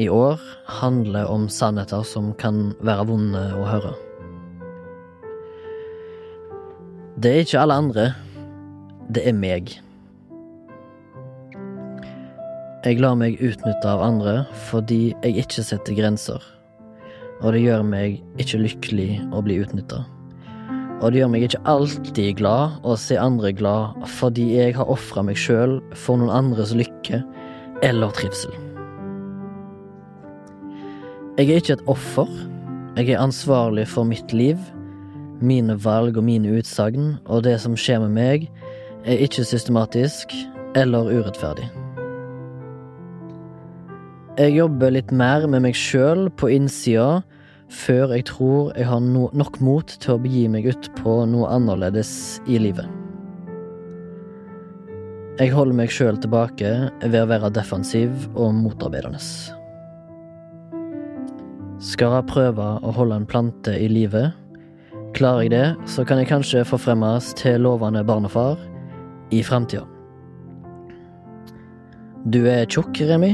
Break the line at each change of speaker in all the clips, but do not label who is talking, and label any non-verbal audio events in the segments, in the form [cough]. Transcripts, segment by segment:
i år handler om sannheter som kan være vonde å høre. Det er ikke alle andre. Det er meg. Jeg lar meg utnytte av andre fordi jeg ikke setter grenser. Og det gjør meg ikke lykkelig å bli utnytta. Og det gjør meg ikke alltid glad å se andre glad fordi jeg har ofra meg sjøl for noen andres lykke eller trivsel. Jeg er ikke et offer. Jeg er ansvarlig for mitt liv, mine valg og mine utsagn, og det som skjer med meg, er ikke systematisk eller urettferdig. Jeg jobber litt mer med meg sjøl på innsida før jeg tror jeg har no nok mot til å begi meg ut på noe annerledes i livet. Jeg holder meg sjøl tilbake ved å være defensiv og motarbeidende. Skal jeg prøve å holde en plante i live? Klarer jeg det, så kan jeg kanskje forfremmes til lovende barnefar i framtida. Du er tjukk, Remi.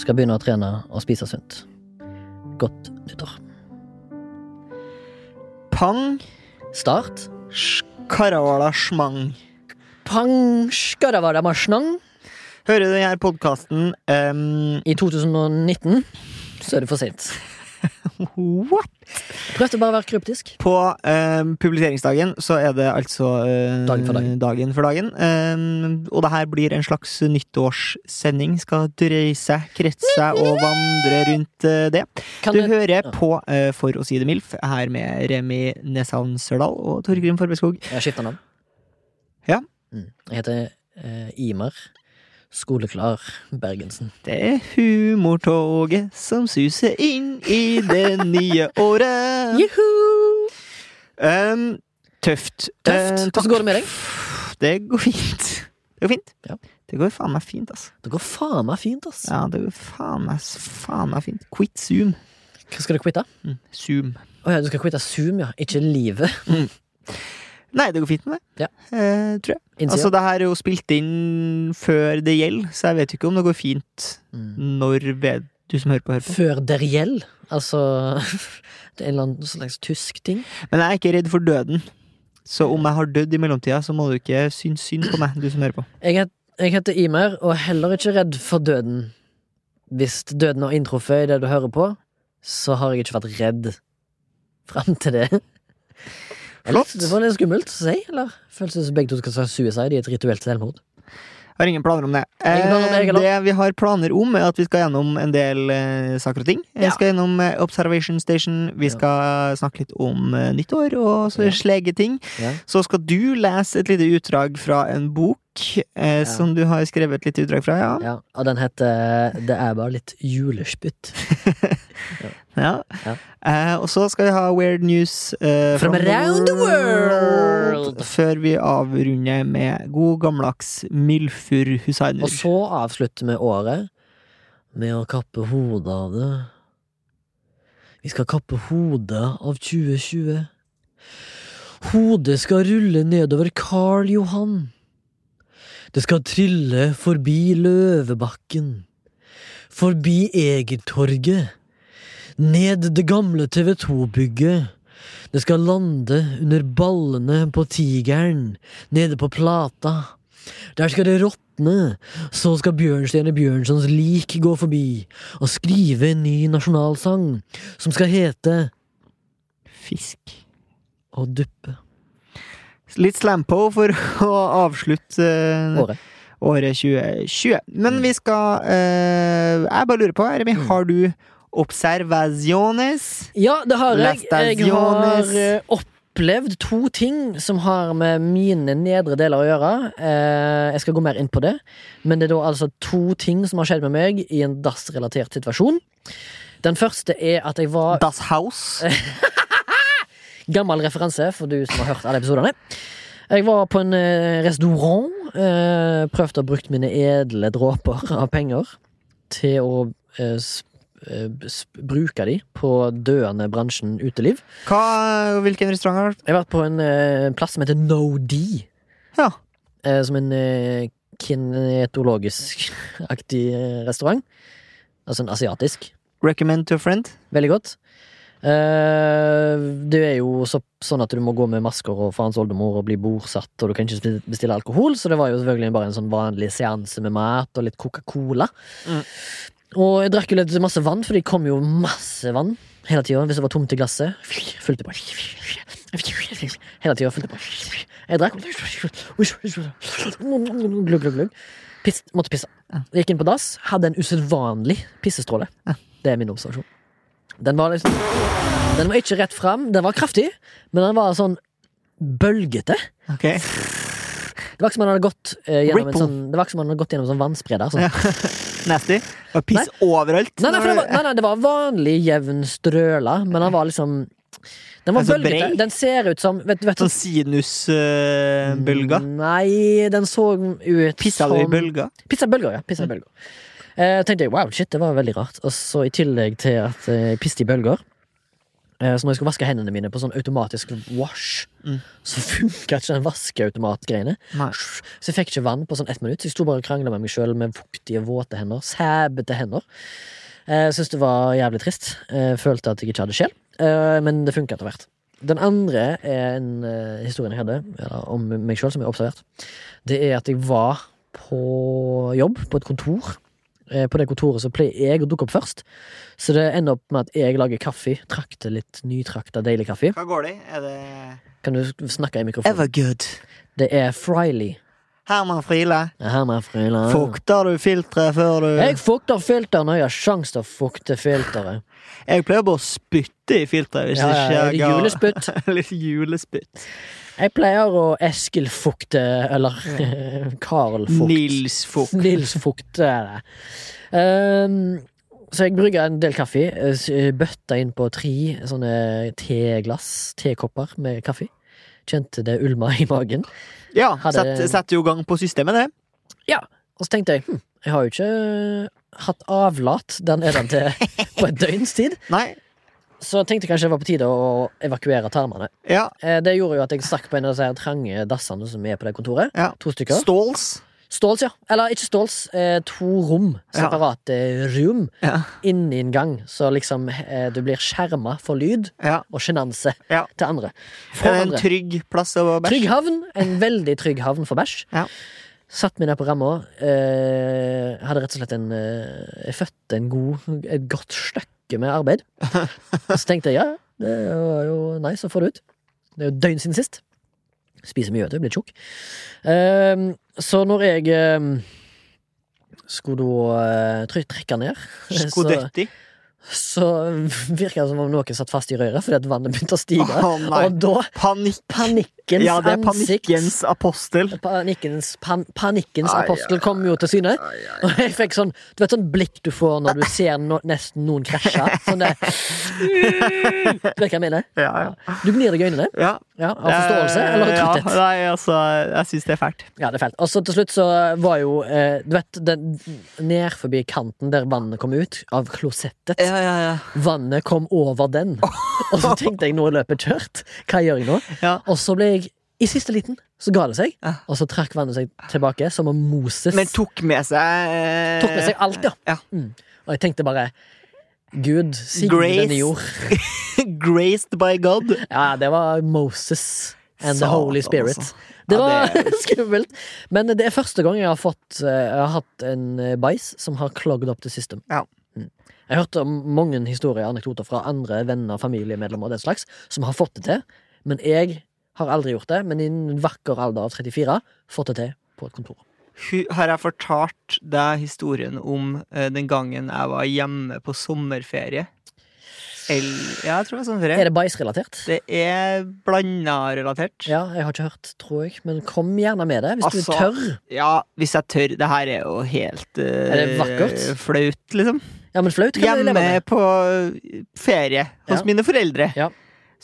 Skal begynne å trene og spise sunt. Godt nyttår.
Pang,
Start.
skaravala, smang.
Pang skadavadamasjnang.
Hører du denne podkasten
I 2019 så er det for sent.
What?
Prøvde bare å være kryptisk.
På ehm, publiseringsdagen så er det altså eh,
Dagen for dagen.
dagen for dagen. Ehm, og det her blir en slags nyttårssending. Skal dreise, kretse og vandre rundt eh, det.
Kan
Du
jeg-
hører
ja.
på eh, For å si det milf, her med Remi Neshavn Sørdal og Torgrim Forbeskog.
Jeg har skifta navn.
Ja.
Mm. Jeg heter eh, Imer Skoleklar Bergensen.
Det er humortoget som suser inn i det nye året.
[laughs] Juhu!
Ehm, tøft.
Tøft. Eh,
Ehm,
Hvordan
takk.
går det med deg?
Det går fint. Det går fint.
Ja.
Det går faen meg fint, altså.
Det går faen meg fint, ass.
Ja, det går faen meg, faen meg fint. Quit Zoom.
Hva Skal du quitte?
Mm, Zoom.
Å ja, du skal quitte Zoom, ja. Ikke livet.
Nei, det går fint med det. Eh, tror jeg.
Innsida.
Altså, det her er jo spilt inn før det gjelder, så jeg vet jo ikke om det går fint
mm.
når ved du som hører på, hører på.
Før Deriel. Altså [laughs] Det er en eller annen slags tysk ting.
Men jeg er ikke redd for døden. Så om jeg har dødd i mellomtida, så må du ikke synes synd på meg, du som hører på.
Jeg, het, jeg heter Imer, og er heller ikke redd for døden. Hvis døden har inntruffet i det du hører på, så har jeg ikke vært redd fram til det.
Flott.
Det var litt skummelt å si, eller? Føles det som begge to skal ta suicide i et rituelt selvmord.
Har ingen planer om det.
Har ingen planer om det,
Eh,
Egil.
det vi har planer om, er at vi skal gjennom en del eh, saker og ting. Vi
Ja.
skal gjennom eh, Observation Station, vi
Ja.
skal snakke litt om eh, nyttår og så
Ja.
slege ting.
Ja.
Så skal du lese et lite utdrag fra en bok eh, som du har skrevet et lite utdrag fra, ja.
Ja, og den heter Det er bare litt julespytt.
ja.
Ja.
Eh, og så skal vi ha Weird News eh,
From around the world.
Før vi avrunder med god gammeldags Milfur Hussainer.
Og så avslutter vi året med å kappe hodet av det. Vi skal kappe hodet av 2020. Hodet skal rulle nedover Karl Johan. Det skal trille forbi Løvebakken. Forbi Egertorget. Ned det gamle TV 2-bygget. Det skal lande under ballene på Tigeren, nede på Plata. Der skal det råtne. Så skal Bjørnstjerne Bjørnsons lik gå forbi og skrive en ny nasjonalsang som skal hete
Fisk.
Å duppe.
Litt slampo for [laughs] å avslutte eh,
Året.
året 2020. Men vi skal eh, Jeg bare lurer på, Remi,
Mm.
har du observasjones?
Ja, det har jeg. Jeg har
Lastasiones.
eh, opplevd to ting som har med mine nedre deler å gjøre. Eh, Jeg skal gå mer inn på det, men det er da altså to ting som har skjedd med meg i en dassrelatert situasjon. Den første er at jeg var
Das House.
Gammel referanse for du som har hørt alle episodene. Jeg var på en eh, restaurant. Eh, prøvde å bruke mine edle dråper av penger til å eh, sp eh, sp bruke de på døende bransjen uteliv.
Hva, hvilken restaurant har du vært
Jeg har vært på en eh, plass som heter No D.
Ja.
Eh, som en eh, kinetologisk-aktig eh, restaurant. Altså en asiatisk.
Recommend to a friend?
Veldig godt. Eh, det er jo så, sånn at du må gå med masker og farens oldemor og bli bordsatt, og du kan ikke spi- bestille alkohol, så det var jo selvfølgelig bare en sånn vanlig seanse med mat og litt Coca-Cola.
Mm.
Og jeg drakk jo litt masse vann, for det kom jo masse vann hele tida hvis det var tomt i glasset. Fulgte på. Hele tida fulgte på. Jeg drakk Glugg, glugg, glugg. Piss, måtte pisse. Gikk inn på dass, hadde en usedvanlig pissestråle. Det er min observasjon. Den var liksom Den var ikke rett fram, den var kraftig, men den var sånn bølgete.
Ok.
Det var ikke som om den hadde gått eh, gjennom en
Ripple.
sånn Det var ikke som om den hadde gått gjennom en sånn vannspreder. Sånn.
Ja. Nasty. Og piss overalt.
Nei, nei, for det var, nei, nei, det var vanlig jevn strøla, men den var liksom Den var
Altså,
bølgete.
brei?
Den ser ut som vet, vet,
Sånn
Mm.
sinusbølger.
Nei, den så ut
Pissa
som
du Sånn i bølger?
Pizza bølger, ja. Pizza bølger. Eh, tenkte jeg, wow, shit, det var veldig rart. Og så i tillegg til at eh, jeg pisset i bølger, eh, så når jeg skulle vaske hendene mine på sånn automatisk wash,
Mm.
så funka ikke den vaskeautomatgreiene.
Nei.
Så jeg fikk ikke vann på sånn ett minutt. Så jeg sto bare og krangla med meg sjøl med fuktige, våte hender. Sæbete hender. Eh, Syns det var jævlig trist. Eh, følte at jeg ikke hadde sjel. Eh, men det funka etter hvert. Den andre er en eh, historien jeg hadde eller, om meg sjøl, som jeg har observert. Det er at jeg var på jobb, på et kontor. Eh, På det kontoret så pleier jeg å dukke opp først, så det ender opp med at jeg lager kaffe. Trakter litt nytrakta, deilig kaffe.
Hva går det i? Er det
Kan du snakke i mikrofonen?
Evergood?
Det er Friley.
Herman Friele.
Her med Friley.
Fukter du filteret før du
Ah. Jeg fukter filteret når jeg har sjans til å fukte filteret.
Jeg pleier bare å spytte i filteret hvis
Ja, ja,
det ikke er
julespytt.
[laughs] Litt julespytt.
Jeg pleier å Eskil-fukte, eller [laughs] Carl-fukt.
Nils-fukt.
Nils Fukt er det. Ehm, så jeg brygger en del kaffe. eh, s- eh, Bøtta inn på tre sånne teglass, tekopper med kaffe. Kjente det ulma i magen.
Ja,
Hadde-
setter setter jo gang på systemet, det.
Og så tenkte jeg hm, jeg har jo ikke eh, hatt avlat den er den til på et døgns tid.
Nei.
Så jeg tenkte kanskje det var på tide å evakuere tarmene.
Ja.
Eh, Det gjorde jo at jeg stakk på en av disse her trange dassene som er på det kontoret.
Ja.
To stykker.
Ståls.
Ståls, ja. Eller ikke Ståls. Eh, to rom.
Ja.
Separate rom.
Ja.
Inni en gang. Så liksom eh, du blir skjerma for lyd
ja.
og sjenanse
Ja.
til andre. For
Er det en
andre.
trygg plass å bæsje?
Trygg havn. En veldig trygg havn for bæsj.
Ja.
Satt meg ned på ramma. Eh, hadde rett og slett en eh, Jeg fødte en god, et godt stykke med
[laughs]
arbeid. Så tenkte jeg ja, det var jo nice å få det ut. Det er jo et døgn siden sist. Spiser mye, vet du. Blir tjukk. Eh, så når jeg eh, skulle da eh, try- trekke ned [laughs] så,
Skodetti?
så virka det som om noen satt fast i røret fordi at vannet begynte å
Å
stige.
nei.
og da
Panikk.
panikkens
Ja, det er
ansikt
panikkens apostel.
Panikkens, pan, panikkens
Ai, ai,
apostel kom jo til syne. Og jeg fikk sånn Du vet sånn blikk du får når du ser no, nesten noen krasje? Sånn
[laughs]
det Du vet hva jeg mener?
Ja, ja.
Du gnir deg i øynene
ja.
ja, av forståelse eller
Eh, ja,
tretthet.
Nei, altså, jeg syns det er fælt.
Ja, det er fælt. Og så til slutt så var jo eh, Du vet den ned forbi kanten der vannet kom ut, av klosettet.
Ja, ja, ja.
Vannet kom over den. Og så tenkte jeg nå er løpet kjørt. Hva gjør jeg nå?
Ja.
Og så ble jeg i siste liten, så ga det seg,
Ja.
og så trakk vannet seg tilbake, som om Moses
Men tok med seg eh,
tok med seg alt, ja.
Ja.
Mm. Og jeg tenkte bare Gud, signe
Grace.
denne jord.
[laughs] Graced by God.
Ja, det var Moses and the
Satan,
Holy Spirit.
altså.
Det
Ja,
var [laughs]
det
skummelt. Men det er første gang jeg har, fått, eh, jeg har hatt en eh, bæsj som har clogged up the system.
Ja.
Mm. Jeg hørte om mange historier og anekdoter fra andre venner, familiemedlemmer og den slags, som har fått det til. Men jeg har aldri gjort det. Men i en vakker alder av 34 fått det til på et kontor.
Hu- Har jeg fortalt deg historien om eh, den gangen jeg var hjemme på sommerferie? L- Ja, jeg tror det er sånn for
Er
det.
det bæsjrelatert?
Det er blanda relatert.
Ja, jeg har ikke hørt, tror jeg. Men kom gjerne med det, hvis
Altså,
du tør.
Ja, hvis jeg tør. Det her er jo helt eh,
Er det vakkert?
flaut, liksom.
Ja, men flaut kan du leve
Hjemme
med.
på eh, ferie hos
Ja.
mine foreldre.
Ja.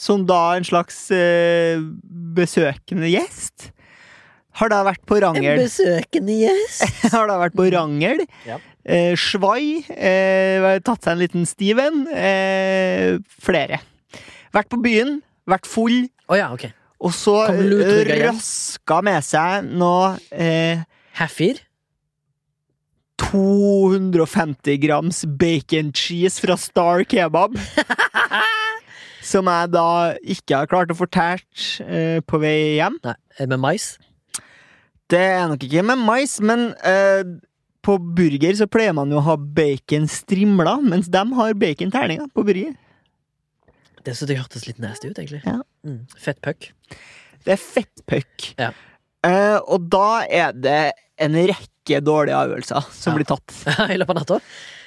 Som da en slags eh, besøkende gjest. Har da vært på
En
rangel.
besøkende
[laughs]
gjest.
har da vært på rangel.
Ja.
Eh, svai. Eh, tatt seg en liten stiv en. Eh, flere. Vært på byen. Vært full.
Å ja, ok.
Og så
Kom lutrygga hjem.
raska med seg noe eh,
Hafir.
250 grams bacon cheese fra Star Kebab. som jeg da ikke har klart å fortelle eh, på vei hjem.
Nei, er det med mais.
Det er nok ikke med mais, men eh, på burger så pleier man jo å ha baconstrimler, mens de har baconterninger på burger.
Det synes jeg hørtes litt nasty ut, egentlig.
Ja.
Mm. Fett puck. [laughs]
Det er fettpuck.
Ja.
Eh, og da er det en rekke dårlige avgjørelser som
Ja.
blir tatt.
I løpet av natta.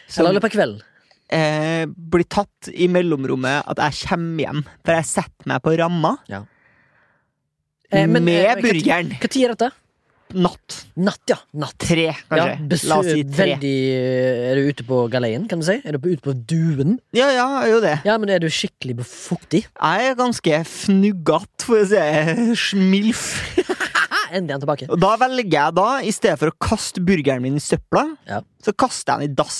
Som
Eller i løpet av kvelden.
eh, blir tatt i mellomrommet at jeg kommer hjem, for jeg setter meg på ramma
Eh, men,
med
eh, hva-
burgeren.
Hva tid er dette?
Natt.
Natt, ja. Natt.
Tre,
Ja,
kanskje. La
besøk,
oss si tre.
veldig, eh, er du ute på galeien, kan du si? Er du på- ute på duen?
Ja, ja, jo det.
Ja, men er du skikkelig befuktig?
Jeg er ganske fnuggete, for å si smilf.
Ah, endelig er han tilbake.
Og da velger jeg da, i stedet for å kaste burgeren min i søpla,
Ja.
så kaster jeg den i dass.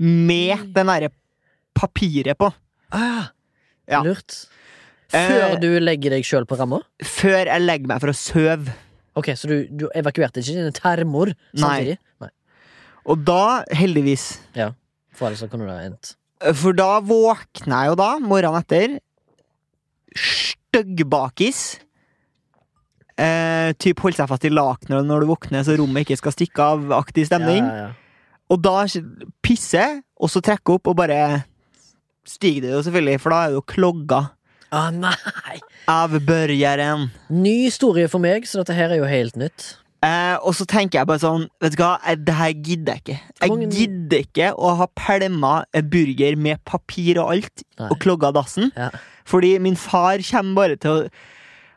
Med den derre papiret på.
Ah,
Ja.
Lurt. Før
Eh,
du legger deg sjøl på ramma?
Før jeg legger meg for å sove.
Ok, Så du, du evakuerte ikke dine termer samtidig? Nei.
Og da, heldigvis
For ellers så kunne det ha endt.
For da våkner jeg jo da, morgenen etter, styggbakis. Eh, typ holdt seg fast i lakenet når du våkner, så rommet ikke skal stikke av. Aktiv stemning.
Ja, ja, ja.
Og da pisser, og så trekker opp, og bare stiger det jo selvfølgelig, for da er det jo klogga
Ah, nei!
av børjeren.
Ny historie for meg, så dette her er jo helt nytt.
Eh, og så tenker jeg bare sånn Vet du hva, eh, det her gidder jeg ikke.
Hvor mange-
Jeg gidder ikke å ha pælma en burger med papir og alt,
Nei.
og klogga dassen.
Ja.
Fordi min far kommer bare til å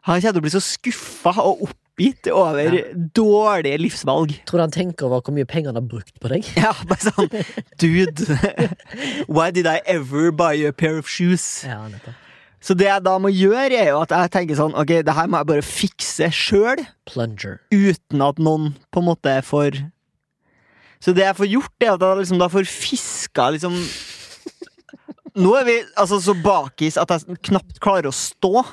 Han kommer til å bli så skuffa og oppgitt over
Ja.
dårlige livsvalg.
Tror du han tenker over hvor mye penger han har brukt på deg?
Ja, bare sånn Dude, [laughs] why did I ever buy you a pair of shoes?
Ja, nettopp.
Så det jeg da må gjøre, er jo at jeg tenker sånn Ok, det her må jeg bare fikse sjøl.
Plunger.
uten at noen på en måte får Så det jeg får gjort, er at jeg liksom da får fiska liksom Nå er vi altså så bakis at jeg knapt klarer å stå.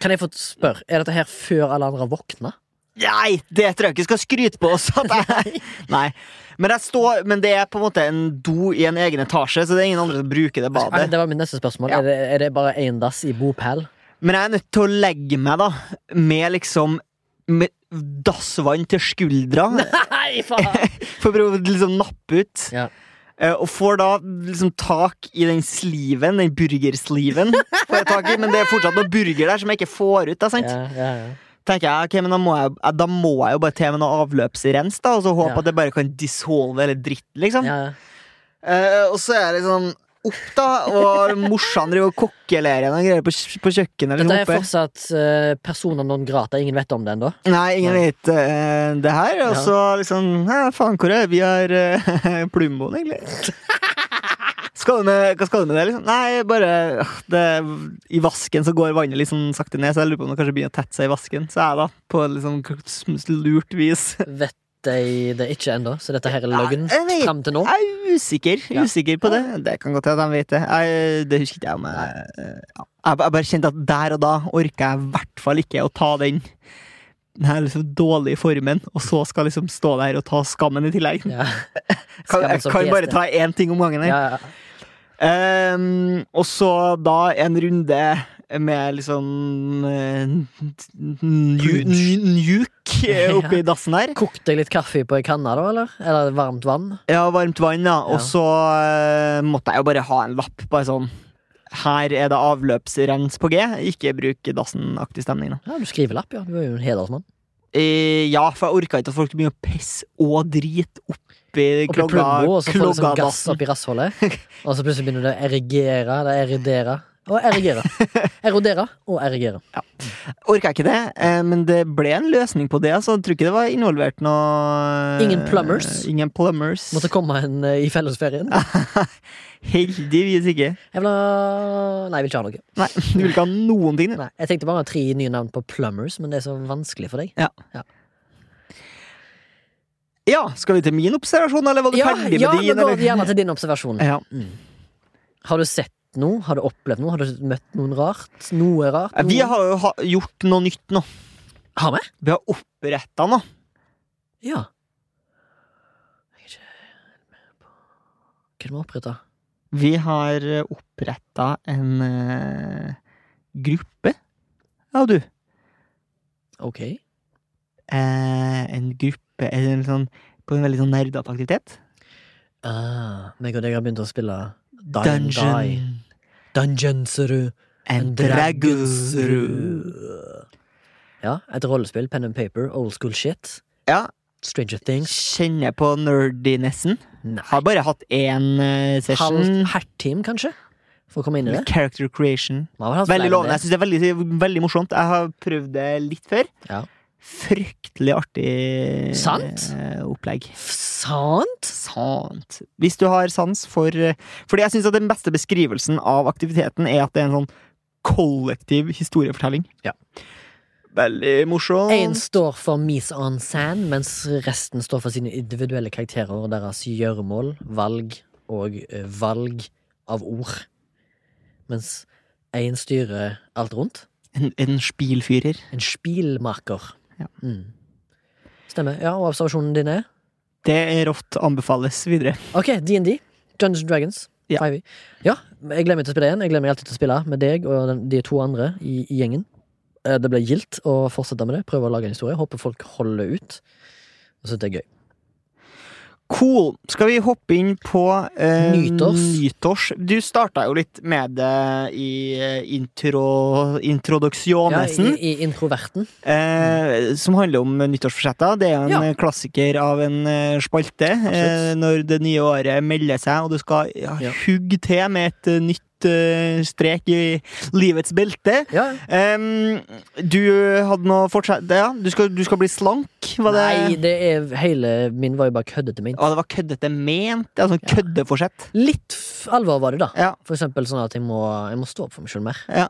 Kan jeg få spørre, er dette her før alle andre har våkna?
Nei, det tror jeg ikke skal skryte på oss. At jeg, nei. Men, jeg står, men det er på en måte en do i en egen etasje, så det er ingen andre som bruker det
Ah,
badet.
Det var mitt neste spørsmål.
Ja.
Er, det, er det bare én dass i bopel?
Men jeg er nødt til å legge meg, da, med liksom med dassvann til skuldra.
Nei, faen!
For å prøve å liksom nappe ut.
Ja.
Eh, Og får da liksom tak i den sliven, den burgersliven. Får jeg tak i, men det er fortsatt noe burger der som jeg ikke får ut. Da, sant?
[laughs] Ja, ja, ja.
Tenker jeg, ok, men da må jeg, eh, da må jeg jo bare til med noe avløpsrens, da, og så håpe
Ja.
at det bare kan dissolve hele dritten, liksom.
Ja, ja.
Eh, og så er jeg liksom opp, da, og morsan driver og kokkelerer noen greier på, kj- på
Dette
kjøkkenet.
er
Liksom, oppe.
fortsatt uh, personer non grata. Ingen vet om det ennå.
Nei, ingen
Nei.
vet eh, det her. Og
Ja.
så liksom Ja, faen, hvor er vi? har [laughs] uh, plumboen, egentlig. Skal du med, hva skal du med det? liksom? Nei, bare øh, det, I vasken så går vannet litt sånn sakte ned, så jeg lurer på om det kanskje begynner å tette seg i vasken. Så jeg da, på litt sånn k- lurt vis
Vet de det ikke ennå, så dette her er
Nei,
løgn
jeg vet-
fram til nå.
Jeg er usikker
Ja.
usikker på det. Det kan godt hende de vet det. Jeg, det husker ikke jeg om jeg øh, ja. Jeg ba- jeg bare kjente at der og da orker jeg i hvert fall ikke å ta den. Den her liksom dårlige formen, og så skal jeg liksom stå der og ta skammen i tillegg.
Ja.
Kan,
Skammen
jeg
som
kan bare
fjes,
ta én ting om gangen.
Ja,
her.
ja.
Ehm, og så da en runde med liksom eh, nju- nju- Nuke oppi dassen her.
Kokte deg litt kaffe på ei kanne, da? Eller Eller varmt vann?
Ja, varmt vann, da.
Ja.
Og så eh, måtte jeg jo bare ha en lapp. Bare sånn Her er det avløpsrens på G. Ikke bruk dassen-aktig stemning, da.
Ja, Du skriver lapp, ja. Du er jo en hedersmann.
Eh, ja, for jeg orka ikke at folk begynner å pisse og drit oppi
Oppi
klogga,
pluggo, og så får du sånn gass
kloggadassen.
oppi rassholdet.
[laughs]
Og så plutselig begynner det å erigere, det eridere, og erigere. Erodere og erigere.
Orka ikke det, eh, men det ble en løsning på det. Altså. Jeg tror ikke det var involvert noe eh,
Ingen plumbers?
Ingen plumbers.
Måtte [laughs] komme en eh, i fellesferien.
[laughs] Heldigvis ikke.
Jeg vil ha Nei, jeg vil ikke ha noe.
Nei, du vil ikke ha noen ting. du.
Nei, jeg tenkte bare å ha tre nye navn på plumbers, men det er så vanskelig for deg.
Ja, skal vi til min observasjon, eller var du
Ja,
ferdig med
ja
din?
nå går vi
eller?
gjerne til din observasjon. Mm.
Ja.
Har du sett noe? Har du opplevd noe? Har du møtt noen rart? Noe rart?
Eh, Vi
Noe-
har jo ha- gjort noe nytt nå.
Har vi?
Vi har oppretta noe.
Ja. Jeg er ikke helt med på Hva er det vi oppretta?
Vi har oppretta en eh, gruppe. Ja, du.
Ok.
Eh, en gruppe en sånn, på en veldig sånn nerdete aktivitet.
Ah, meg og deg har begynt å spille Die and Die.
Dungeon
Dungeonseru.
and Dragons.
Ja, et rollespill. Pen and paper. Old school shit.
Ja,
Stranger Things.
kjenner på nerdinessen.
Nei.
Har bare hatt én eh,
Halvt
session.
halvtime, kanskje? For å komme inn i det.
Character creation.
Vi har vel hatt flere
Veldig
enn
lovende. Jeg
det.
synes det er veldig, veldig morsomt. Jeg har prøvd det litt før.
Ja.
Fryktelig artig
Sant?
eh, opplegg.
F- Sant?
Sant. Hvis du har sans for eh, Fordi jeg syns at den beste beskrivelsen av aktiviteten er at det er en sånn kollektiv historiefortelling.
Ja.
Veldig morsom.
Én står for Mise en scène, mens resten står for sine individuelle karakterer og deres gjøremål, valg og eh, valg av ord. Mens én styrer alt rundt.
En, en spilfyrer.
En spilmaker.
Ja.
Mm. Stemmer. Ja, og observasjonen din er?
Det er rått. Anbefales videre.
Ok, DND. Dungeons and Dragons.
Ja.
5e. ja. Jeg gleder meg til å spille igjen. Jeg gleder meg alltid til å spille med deg og den, de to andre i, i gjengen. Eh, Det ble gildt å fortsette med det. Prøve å lage en historie. Håper folk holder ut. Jeg synes det er gøy.
Cool. Skal vi hoppe inn på eh,
Nytårs.
nytårs? Du starta jo litt med det i eh, intro, introduksjonesen,
Ja, i, i introverten.
eh, som handler om nyttårsforsetter. Det er en
Ja.
eh, klassiker av en eh, spalte eh,
Absolutt.
når det nye året melder seg, og du skal ja,
Ja.
hugge til med et eh, nytt eh, strek i livets belte.
Ja.
Em, du hadde noe fortsett... Ja, du skal, du skal bli slank, var det?
Nei, det er hele min var jo bare køddete ment.
Å, det var køddete ment. Det var sånn køddeforsett.
Litt f- alvor var det, da.
Ja.
For eksempel sånn at jeg må, jeg må stå opp for meg sjøl mer.
Ja.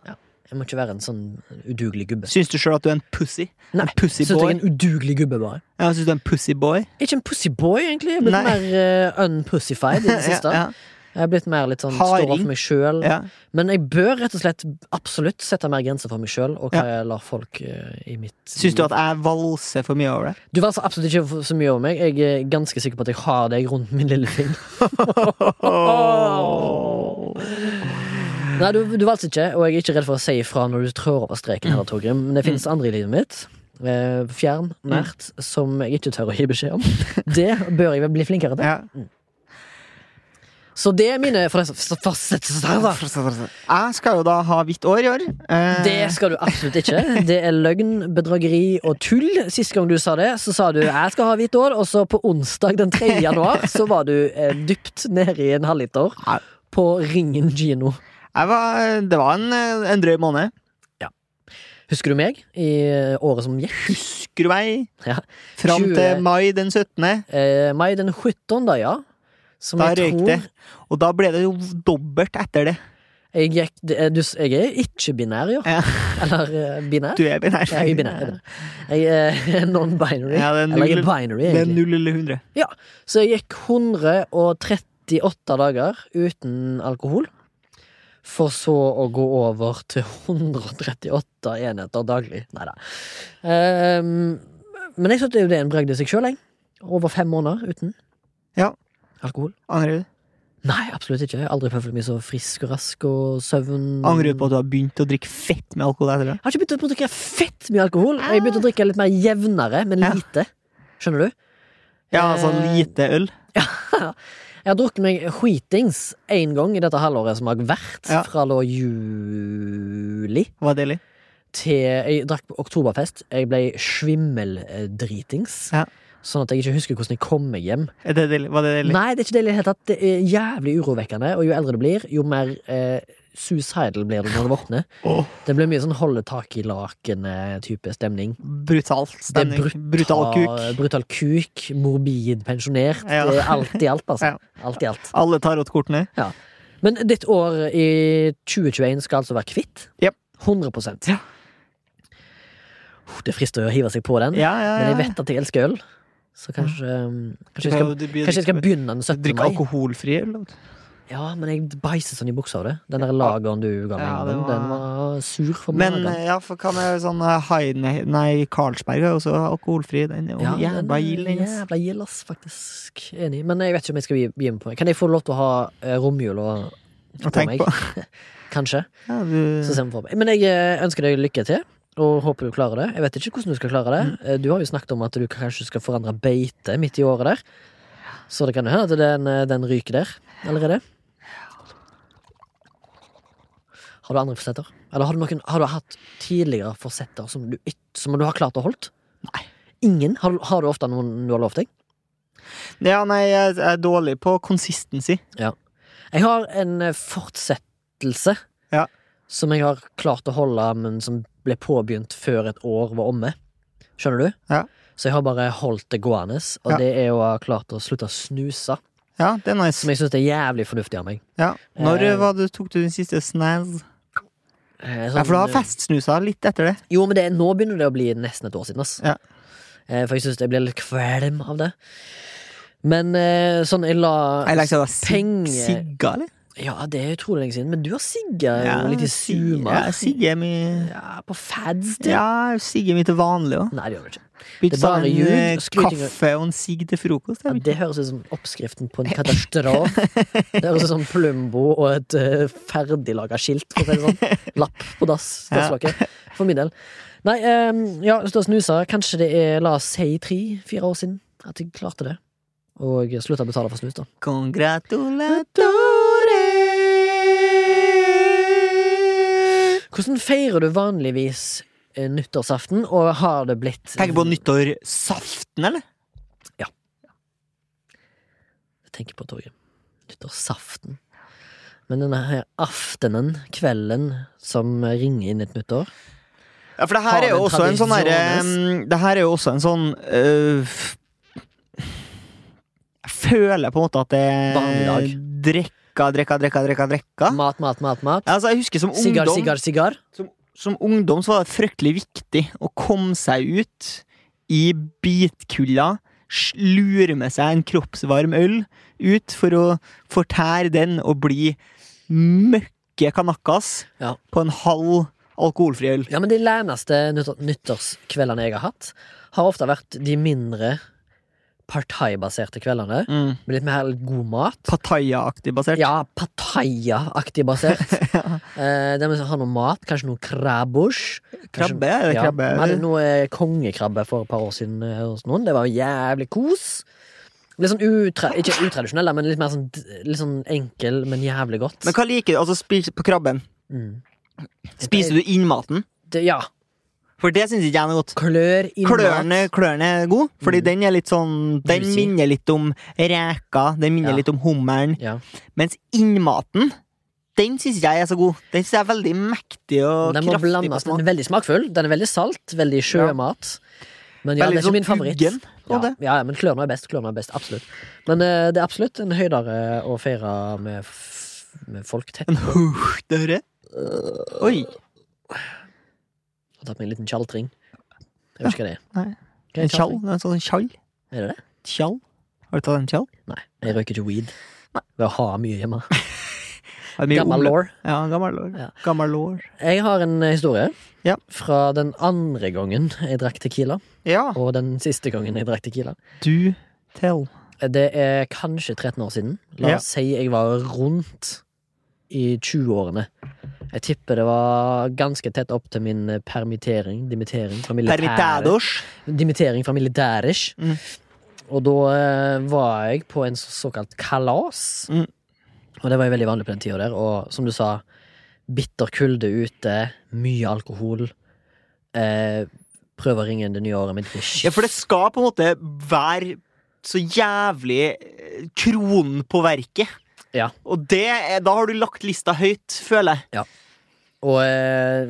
Jeg må ikke være en sånn udugelig gubbe.
Syns du sjøl at du er en pussy?
Nei,
en pussy
Synes jeg
boy?
er en uduglig gubbe, bare.
Ja, syns du er en pussy boy?
Ikke en pussyboy, egentlig. Jeg er blitt
Nei.
mer eh, unpussified i det siste.
[laughs] ja,
Jeg er blitt mer litt sånn
Harding.
står opp for meg sjøl.
ja, ja.
Men jeg bør rett og slett absolutt sette mer grenser for meg sjøl og hva jeg lar folk eh, i mitt
Syns du at jeg valser for mye over det?
Du var så absolutt ikke for- så mye over meg. Jeg er ganske sikker på at jeg har deg rundt min lille
[laughs]
finger.
Oh.
Nei, du, du valgte ikke, og jeg er ikke redd for å si ifra når du trår over streken.
Mm.
Her, Torgrim. Men det finnes andre i livet mitt, eh, fjern, nært,
Mm.
som jeg ikke tør å gi beskjed
[laughs]
om. Det bør jeg vel bli flinkere til.
Ja.
Så det er mine fornes- forsettelser. da.
Jeg skal jo da ha hvitt år i år. Eh,
Det skal du absolutt ikke. Det er løgn, bedrageri og tull. Sist gang du sa det, så sa du 'jeg skal ha hvitt år', og så på onsdag den 3. januar så var du eh, dypt nede i en halvliter
Nei.
på Ringen Gino.
jeg var, det var en, en drøy måned.
Husker du meg i eh, året som gikk?
Husker du meg?
Ja.
Fram
20.
til mai den 17.
Eh, mai den 17., da, ja. Som
Da
jeg
røyk
tror
det. Og da ble det jo dobbelt etter det.
Jeg, gikk, det er- du, s- jeg er ikke-binær, ja.
Ja.
Eller eh, binær.
Du er binær.
Jeg er binær. jeg er binær. Jeg er eh, [laughs] non-binary.
Ja, det er
eller jeg er
null-
binary,
Det er
egentlig.
null eller hundre.
Så jeg gikk 138 dager uten alkohol. For så å gå over til 138 enheter daglig. Nei da. Ehm, men jeg syns det er jo det en bragd i seg sjøl, jeg. Over fem måneder uten
Ja.
alkohol.
Angrer du?
Nei, absolutt ikke. Jeg har aldri følt meg så frisk og rask og søvn
Angrer du på at du har begynt å drikke fett med alkohol etter det?
Jeg har ikke begynt å drikke fett mye alkohol. Jeg har begynt å drikke litt mer jevnere, men
Ja.
lite. Skjønner du?
Ja, altså
Eh,
lite øl.
Jeg har drukket meg skitings én gang i dette halvåret som har vært.
Ja.
Fra da juli
Var deilig.
til Jeg drakk på oktoberfest. Jeg ble svimmeldritings.
Ja.
Sånn at jeg ikke husker hvordan jeg kom meg hjem.
Er det deilig? Var det deilig?
Nei, det er ikke deilig i det hele tatt. Det er jævlig urovekkende, og jo eldre du blir, jo mer eh, suicidal blir du når du våkner.
Åh,
Det blir mye sånn holde tak i lakenet-type stemning.
brutalt stemning.
Det er
Brutal kuk.
Ta- Brutal kuk, morbid pensjonert.
Ja.
Det er Alt i alt, altså.
[laughs] Ja.
Alt i alt.
Alle tarotkortene.
Men ditt år i 2021 skal altså være kvitt.
Jep.
100
Ja.
Uff, Det frister jo å hive seg på den,
Ja, ja, ja.
men jeg vet at jeg elsker øl. Så kanskje, um, kanskje, jeg, skal, kanskje jeg skal begynne den 17.
Drikke
mai.
alkoholfri øl? da.
Ja, men jeg bæsjer sånn i buksa av det. Den der lageren du ga meg,
Ja, det
den,
var-
den var sur for
Men
magen.
eh, ja, for hva med sånn eh, Heine... Nei, Carlsberg er også alkoholfri. Den er jo oh, jævla gild, den. ass.
Jævla gild, ass, faktisk. Enig. Men jeg vet ikke om jeg skal bli bli med på det. Kan jeg få lov til å ha eh, romjula
Å tenke på.
[laughs] Kanskje.
Ja, du-
Så ser vi for meg. Men jeg eh, ønsker deg lykke til, og håper du klarer det. Jeg vet ikke hvordan du skal klare det. Eh, Du har jo snakket om at du kanskje skal forandre beite midt i året der. Så det kan jo hende at den, eh, den ryker der allerede. Har du andre forsetter? Eller har du, noen, har du hatt tidligere forsetter som du, ikke- som du har klart å holdt?
Nei.
Ingen? Har, du- har du ofte noen du har lovt deg?
Ja, nei, jeg er dårlig på consistency.
Jeg har en eh, fortsettelse
Ja.
som jeg har klart å holde, men som ble påbegynt før et år var omme. Skjønner du?
Ja.
Så jeg har bare holdt det gående, og
Ja.
det er å ha klart å slutte å snuse.
Ja, det er
Som
nice.
jeg syns er jævlig fornuftig av meg.
Ja. Når
Eh,
var det, tok du din siste snaz?
Eh,
Ja, for du har
sånn, eh,
festsnusa litt etter det.
Jo, men det, nå begynner det å bli nesten et år siden. Ass.
Ja.
Eh, For jeg syns jeg blir litt kvalm av det. Men eh, sånn, jeg la
Jeg legger seg
Penge.
sig sigga, eller?
Ja, det er utrolig lenge siden, men du har sigga jo litt i
sig-
suma.
Ja, sigge er mye
Ja, på fads, du.
Ja, sigge er mye til vanlig òg.
Nei, det gjør du ikke.
Bytte
Det er bare
sammen
jul,
eh,
skryting og-
kaffe og en sigg til frokost.
Ja,
Det er [laughs]
det høres ut som oppskriften på en katastrofe. Det høres ut som Plumbo og et uh, ferdiglaga skilt. For å si det sånn. Lapp på dass.
[laughs]
Dasslokket. For min del. Nei, ehm, ja, stå og snuse. Kanskje det er la oss si tre-fire år siden at jeg klarte det. Og slutta å betale for snus, da.
Congratulatore!
Hvordan feirer du vanligvis eh, nyttårsaften, og har det blitt
Tenker på nyttårsaften, eller?
Jeg tenker på toget. Nyttårsaften. Men denne her aftenen, kvelden, som ringer inn et nytt år
Ja, for det her
Faen,
er jo
en
også en sånn herre
tradisjones.
mm, Det her er jo også en sånn øh, f- Jeg føler på en måte at det
Vanlig dag.
Drekka, drekka, drekka, drekka, drekka.
Mat, mat, mat, mat.
Altså, jeg husker som
Sigar,
ungdom
sigar, sigar.
Som ungdom så var det fryktelig viktig å komme seg ut i bitkulda, sj- lure med seg en kroppsvarm øl ut for å fortære den og bli møkke kanakkas
Ja.
på en halv alkoholfri øl.
Ja, men De leneste nyttår- nyttårskveldene jeg har hatt, har ofte vært de mindre partai-baserte kveldene.
Mm.
Med litt mer god mat.
Pattaya-aktig basert.
Ja, Pattaya-aktig
[laughs]
basert. eh, der vi har noe mat, kanskje noe krabbosj.
Krabbe? Er det
Ja,
krabbe?
Vi hadde noe eh, kongekrabbe for et par år siden eh, hos noen. Det var jævlig kos. Litt sånn utra Ikke utradisjonell, da, men litt mer sånn, d- litt sånn enkel, men jævlig godt.
Men hva liker du? Altså, spis på krabben.
Mm.
Spiser du innmaten?
Det, ja.
For det syns ikke jeg er noe godt.
Klør i
Klørne, klørne er god, fordi
Mm.
den er litt sånn Den
Juicy.
minner litt om reka, den minner
Ja.
litt om hummeren.
mat. Ja.
Mens innmaten, den syns jeg er så god. Den syns jeg er veldig mektig og
Den må
kraftig.
blandes.
på
Den
smak.
er veldig smakfull. Den er veldig salt. Veldig sjømat. Men ja, det er
Veldig
ikke
sånn
min favoritt.
uggen, på
ja,
det.
ja, ja, men klørne er best. Klørne er best, Absolutt. Men eh, det er absolutt en høydere å feire med, f med folk tett.
En huh, det hører jeg.
Øh,
Oi.
Har tatt meg en liten tjaltring. Jeg vet ikke hva det er.
Nei.
Hva er
En tjall. En sånn tjall.
Er det det?
Tjall. Har du tatt en tjall?
Nei. Jeg røyker ikke weed.
Nei.
Ved å ha mye hjemme.
Har du mye
Gammel
omløp?
law.
Ja, gammel lår.
Ja.
Gammel lår.
Jeg har en eh, historie
Ja.
fra den andre gangen jeg drakk Tequila,
Ja.
og den siste gangen jeg drakk Tequila.
Du tell.
Det er kanskje 13 år siden. La
Ja.
oss si jeg var rundt i 20-årene. Jeg tipper det var ganske tett opp til min permittering. Dimittering fra militæret.
Permittados.
Dimittering fra militærish.
Mm.
Og da eh, var jeg på en så- såkalt kalas.
Mm.
Og det var jo veldig vanlig på den tida der. Og som du sa, bitter kulde ute, mye alkohol. Eh, prøve å ringe inn det nye året mitt. med
Ja, for det skal på en måte være så jævlig eh, kronen på verket.
Ja.
Og det er, da har du lagt lista høyt, føler jeg.
Og eh,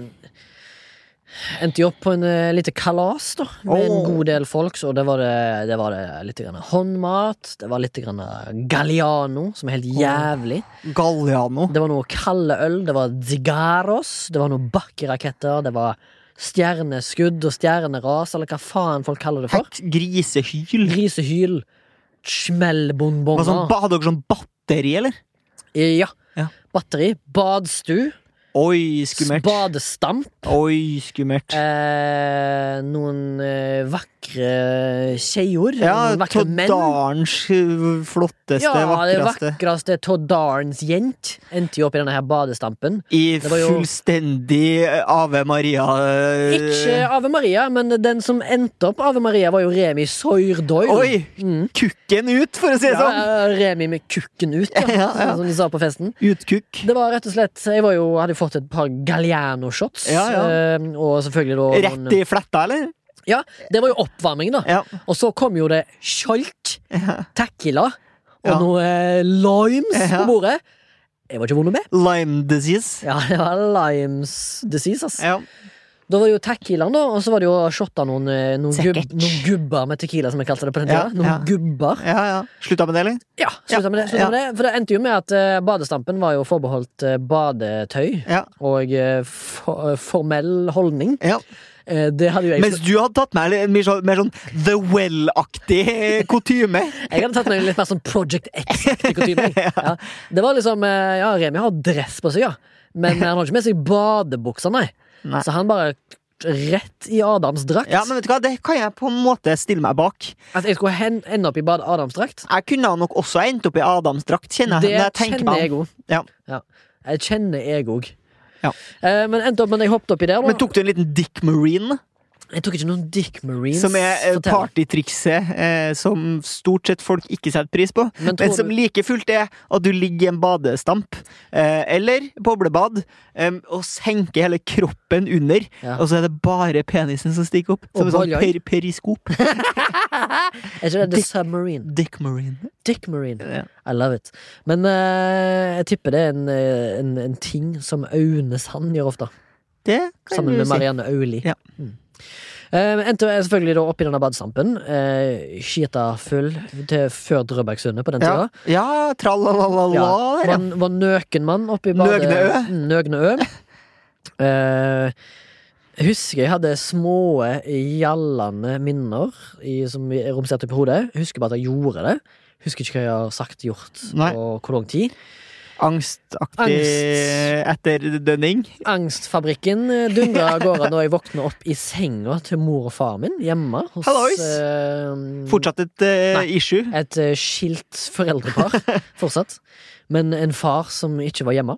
endte jo opp på en eh, lite kalas da med en
Åh.
god del folk. Så det var det, det, var det litt grann håndmat, det var litt grann galliano, som er helt jævlig.
Galliano.
Det var noe kalde øl, det var zigaros, det var noe bakkeraketter, det var stjerneskudd og stjerneras, eller hva faen folk kaller det for.
Hekk grisehyl.
Grisehyl.
Var sånn,
Smellbombonger.
ba- hadde dere sånn batteri, eller?
Ja.
Ja.
Batteri. Badstue.
Oi, skummelt.
Badestamp.
Oi, skummelt.
Eh, noen eh, vakre skeier.
Ja,
noen vakre menn.
Toddarens eh, flotteste,
Ja, det
vakreste.
vakreste Toddarens jent endte jo opp i denne her badestampen.
I
det var jo-
fullstendig Ave Maria eh,
Ikke Ave Maria, men den som endte opp Ave Maria, var jo Remi Soyrdoil.
Oi!
Mm.
Kukken ut, for å si det
Ja,
sånn!
ja, Remi med kukken ut, ja,
[laughs] Ja, ja.
som de sa på festen.
Utkukk.
Det var rett og slett Jeg var jo, hadde jo fått et par Galliano-shots.
Ja, ja.
eh, Og selvfølgelig da noen-
Rett i fletta, eller?
Ja, Det var jo oppvarming, da.
Ja.
Og så kom jo det skjolt, tequila og
Ja.
noe eh, limes
Ja.
på bordet. Jeg var ikke vond med.
Lime disease.
Ja, det var limes disease, ass.
Ja.
Da var det jo tequilaen, da, og så var det jo shotta noen, eh, noen, gubb,
Sikkert.
noen gubber med tequila, som jeg kalte det på den tida.
Ja,
noen
ja.
gubber.
ja, ja. Slutta med det, eller?
Ja, slutta med det. Slutta
Ja.
med det. For det endte jo med at eh, badestampen var jo forbeholdt eh, badetøy
Ja.
og eh, for, eh, formell holdning.
Ja.
Eh, det hadde jo jeg
Mens du hadde tatt med litt mer sånn, mer sånn The [laughs] Well-aktig kutyme.
Jeg hadde tatt meg litt mer sånn Project X-aktig kutyme.
[laughs]
jeg. Ja. Det var liksom eh, Ja, Remi har dress på seg, ja. Men eh, han har ikke med seg badebukser, nei.
Nei.
Så han bare rett i Adams drakt.
Ja, men vet du hva, det kan jeg på en måte stille meg bak.
At jeg skulle hen, ende opp i bad Adams drakt,
Jeg kunne nok også endt opp i Adams drakt, kjenner
det
jeg. når jeg tenker
kjenner
meg om.
jeg òg.
Ja.
Jeg kjenner jeg òg.
Ja.
Eh, men endte opp med at jeg hoppet oppi der. Da.
Men tok du en liten Dick Marine,
jeg tok ikke noen Dick Marines.
som er eh,
fortell.
partytrikset eh, som stort sett folk ikke setter pris på,
Men
men,
tror
som
du-
like fullt er at du ligger i en badestamp eh, eller boblebad eh, og senker hele kroppen under,
Ja.
og så er det bare penisen som stikker opp.
Og
Som en sånn
bollene.
per periskop.
Er ikke det The
Dick-
Submarine?
Dick Marine.
Dick Marine.
Ja.
I love it. Men eh, jeg tipper det er en, eh, en, en ting som Aune Sand gjør ofte.
Det
[laughs]
kan
Sammen
du
med
si.
Marianne Auli.
Ja.
Mm. Eh, endte jeg selvfølgelig da oppi denne badestampen. Uh, Skita full til før Drøbaksundet på den
Ja,
tida.
ja tralalala.
Ja,
der,
var,
ja.
var nøken mann oppi badet.
Nøgneø.
Mm, Nøgneø. Eh, jeg husker jeg hadde små, gjallende minner i, som romserte på hodet. Jeg Husker bare at jeg gjorde det. Husker ikke hva jeg har sagt, gjort,
Nei.
og hvor lang tid.
Angstaktig etterdønning.
Angstfabrikken eh, dundra
[laughs]
av gårde når jeg våkna opp i senga til mor og far min hjemme. Hos,
Hallois.
eh,
Fortsatt et eh,
Nei.
issue.
Et eh, skilt
[laughs]
foreldrepar fortsatt. Men en far som ikke var hjemme.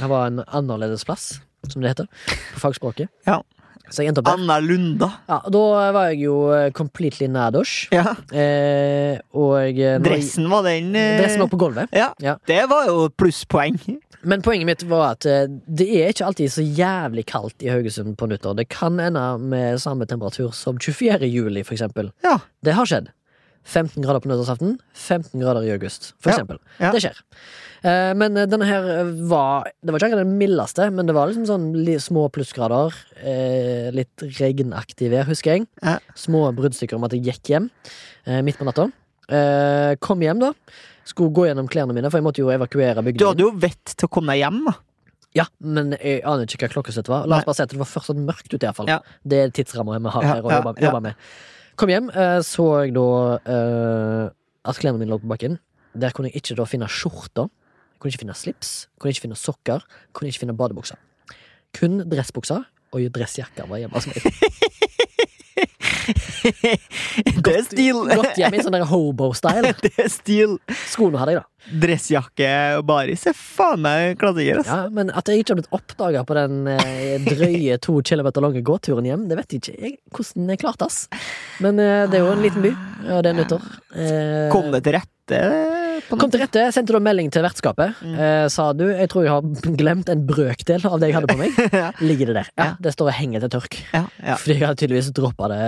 Han var en annerledes plass, som det heter på fagspråket.
Ja.
Så jeg endte opp der.
Anna Lunda.
Ja, da var jeg jo eh, completely nadosh.
Ja.
Eh, og eh, når jeg-
Dressen var den. eh,
Dressen var på gulvet.
Ja,
Ja.
det var jo et plusspoeng.
Men poenget mitt var at eh, det er ikke alltid så jævlig kaldt i Haugesund på nyttår. Det kan ende med samme temperatur som 24. juli, for eksempel.
Ja.
Det har skjedd. 15 grader på nyttårsaften, 15 grader i august, for
Ja,
eksempel.
ja.
Det skjer. Eh, Men eh, denne her eh, var Det var ikke akkurat den mildeste, men det var liksom sånn li- små plussgrader. eh, Litt regnaktig vær, husker jeg.
Ja.
Små bruddstykker om at jeg gikk hjem eh, midt på natta. Eh, Kom hjem, da. Skulle gå gjennom klærne mine, for jeg måtte jo evakuere
Du
bygningen.
hadde jo vett til å komme deg hjem. da.
Ja, men jeg aner ikke hva klokkeslett var. La oss
Nei.
bare si at det var først sånn mørkt ute, i hvert fall.
Ja.
Det er tidsramma vi har
Ja,
her å
ja,
jobbe,
ja.
jobbe med. Kom hjem, eh, så jeg da eh, at klærne mine lå på bakken. Der kunne jeg ikke da finne skjorter. Jeg kunne ikke finne slips, kunne ikke finne sokker, kunne ikke finne badebukser. Kun dressbukser og dressjakker var hjemme hos meg.
Det er [laughs] stil. [laughs]
Godt hjemme i sånn der hobo-style.
Det er stil.
Skoene hadde jeg, da.
Dressjakke og baris er faen meg klassiker. ass.
Ja, men at jeg ikke har blitt oppdaga på den eh, drøye to kilometer lange gåturen hjem, det vet jeg ikke jeg, hvordan jeg klarte, ass. Men eh, det er jo en liten by, og det er nyttår. Eh,
Kom det til rette? på
Kom
nett.
til rette, sendte du en melding til vertskapet. Eh, sa du jeg tror jeg har glemt en brøkdel av det jeg hadde på meg.
ja,
Ligger det der. [laughs] Ja,
Ja.
Det står og henger til tørk.
ja, ja.
Fordi jeg hadde tydeligvis droppa det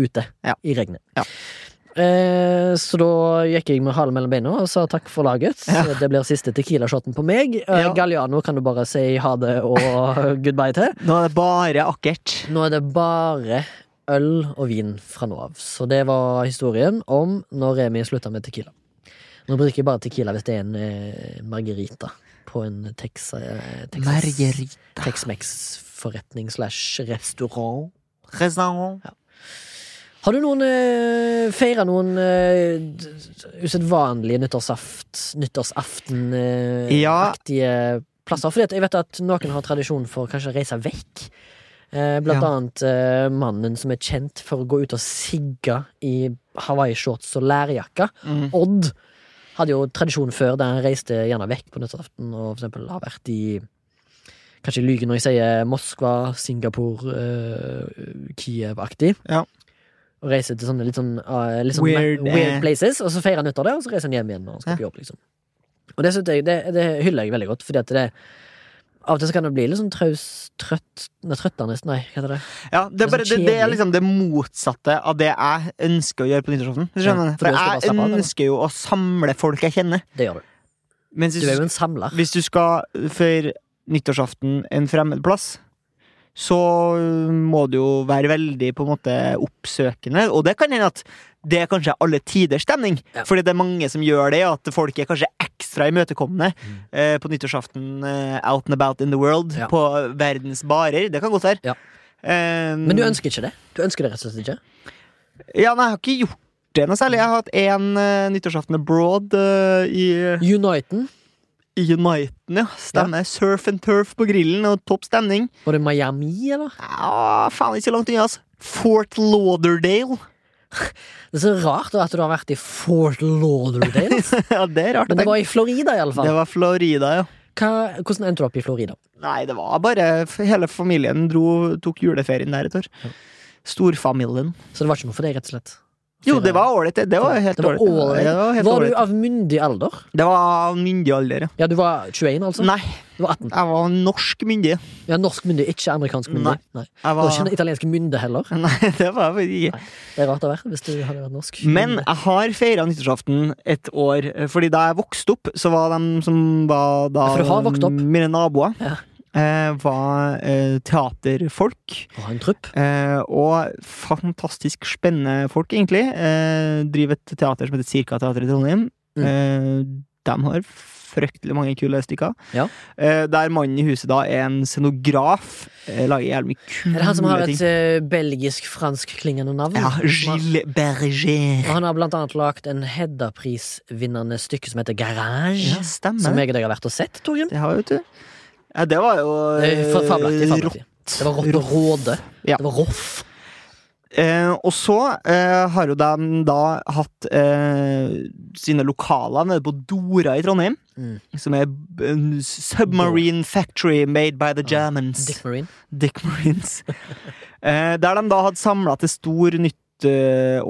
ute
Ja.
i regnet.
Ja.
Eh, så da gikk jeg med halen mellom beina og sa takk for laget. [laughs] Det blir siste Tequila-shoten på meg. Eh,
Ja.
Galliano kan du bare si ha det og [laughs] goodbye til.
Nå er det bare akkert.
Nå er det bare øl og vin fra nå av. Så det var historien om når Remi slutta med Tequila. Nå bruker jeg bare Tequila hvis det er en eh, margarita på en Texa, eh, Texas-
Margarita.
Tex-Mex-forretning slash restaurant.
Restaurant.
Har du noen eh, feira noen eh, d- d- usedvanlige nyttårsaft,
Ja.
nyttårsaften-aktige eh, plasser? Fordi at jeg vet at noen har tradisjon for kanskje å reise vekk. Eh, blant
Ja.
annet eh, mannen som er kjent for å gå ut og sigge i hawaiishorts og lærjakke.
Mm.
Odd hadde jo tradisjon før der han reiste gjerne vekk på nyttårsaften og for eksempel har vært i Kanskje jeg lyver når jeg sier Moskva, Singapore, eh, Kiev-aktig.
Ja.
Og reiser til sånne litt sånn, eh, litt sånn
Weird,
weird, weird
eh.
places, og så feirer han nyttår der, og så reiser han hjem igjen når han skal på jobb. liksom. Og det, synes jeg, det, det hyller jeg veldig godt, fordi at det av og til så kan det bli litt sånn traus, trøtt Nei, trøttende, nei, hva heter det?
Ja, det, er
Det er
bare,
så
det, det er
kjedelig.
liksom det motsatte av det jeg ønsker å gjøre på nyttårsaften. Hvis du skjønner
Ja,
det.
for du ønsker bare å slappe av,
For jeg
eller?
ønsker jo å samle folk jeg kjenner.
Det gjør du.
Mens
Du er
hvis,
jo en samler.
hvis du skal for nyttårsaften en fremmed plass, så øh, må du jo være veldig på en måte oppsøkende. Og det kan hende at det er kanskje alle tiders stemning.
Ja.
Fordi det er mange som gjør det, at folk er kanskje ekstra imøtekommende
Mm.
eh, på nyttårsaften eh, out and about in the world,
Ja.
på verdens barer. Det kan godt være.
Ja.
Eh,
Men du ønsker ikke det? Du ønsker det rett og slett ikke?
Ja, nei, jeg har ikke gjort det noe særlig. Jeg har hatt én eh, nyttårsaften abroad eh, i
Uniten,
i Uniten, ja. Stemmer. Surf and turf på grillen og topp stemning.
var det Miami, eller?
Ja, faen, ikke så langt unna, altså. Fort Lauderdale. [laughs]
Det er så rart da at du har vært i Fort Lauderdale. ass.
[laughs] ja, det er rart. å
Men det
tenke.
var i Florida,
det
iallfall.
var Florida, ja.
Hva, hvordan endte du opp i Florida?
Nei, det var bare f- Hele familien dro, tok juleferien der et år. Storfamilien.
Så det var ikke noe for deg, rett og slett?
Jo, det var ålreit, det. Det var helt
Det var
ålreit. Ja, det var helt
Var du
ålreit.
av myndig alder?
Det var myndig alder, ja.
Ja, du var 21, altså?
Nei,
Du var 18.
jeg var norsk myndig.
Ja, Norsk myndig, ikke amerikansk myndig. Nei.
Jeg
Du var ikke
var...
en italiensk mynde heller.
[laughs] Nei, det var jeg ikke.
Det er rart å være hvis du hadde vært norsk.
Men jeg har feira nyttårsaften et år, eh, fordi da jeg vokste opp, så var de som var da
Ja, for du har vokst opp.
mine naboer,
Ja.
eh, var eh, teaterfolk.
Å ha en trupp.
Eh, og fantastisk spennende folk, egentlig. Eh, driver et teater som heter Cirka Teater i Trondheim.
Mm.
Eh, de har fryktelig mange kule stykker.
Ja.
Eh, der mannen i huset da er en scenograf. Eh, lager jævlig mye
Er
kule
det han som har
ting.
et eh, belgisk-fransk-klingende navn?
Ja, Gilles Berger.
Og han har blant annet lagd en Hedda-prisvinnende stykke som heter Garage.
Ja, stemmer.
Som jeg og deg har vært og sett, Torgrim.
Det har jeg, vet du. Ja, det var jo
Det er fa- fabelaktig,
eh,
fabelaktig. Det var rått og råde.
Ja.
Det var roff.
Eh, og så eh, har jo de da hatt eh, sine lokaler nede på Dora i Trondheim.
Mm.
Som er b- en submarine factory made by the
Ja,
Germans.
Dick Marine.
Dick [laughs] Marines. eh, der de da hadde samla til stor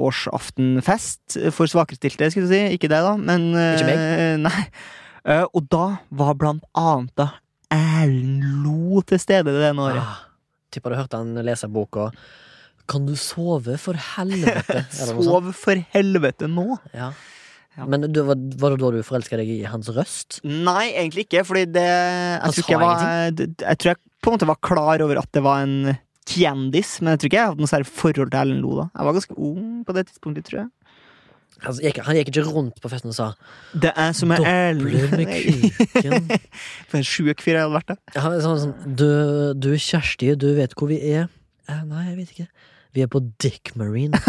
nyttårsaftenfest for svakerestilte, skulle du si. Ikke deg, da, men eh,
Ikke
[laughs] Nei. Eh, og da var blant annet da Erlend Lo til stede det ene året.
Ah, Tipper du hørte han lese boka Kan du sove, for
[laughs]
helvete? Eller noe sånt.
Sov for helvete nå!
Ja.
Ja.
Men du, var, var det da du forelska deg i hans røst?
Nei, egentlig ikke, fordi det Jeg, tror
sa
ikke jeg, var, d- jeg tror jeg på en måte var klar over at det var en kjendis, men jeg tror ikke jeg hadde noe særlig forhold til Erlend Lo da. Jeg var ganske ung på det tidspunktet, tror jeg.
Han gikk, han gikk ikke rundt på festen og sa
Det er som er
Doble
[laughs] Erlend
med kuken.
For en sjuk fyr jeg hadde vært, da.
Han er sånn, sånn du, du, Kjersti, du vet hvor vi er? Eh, nei, jeg vet ikke. Vi er på Dick
[laughs]
Marine.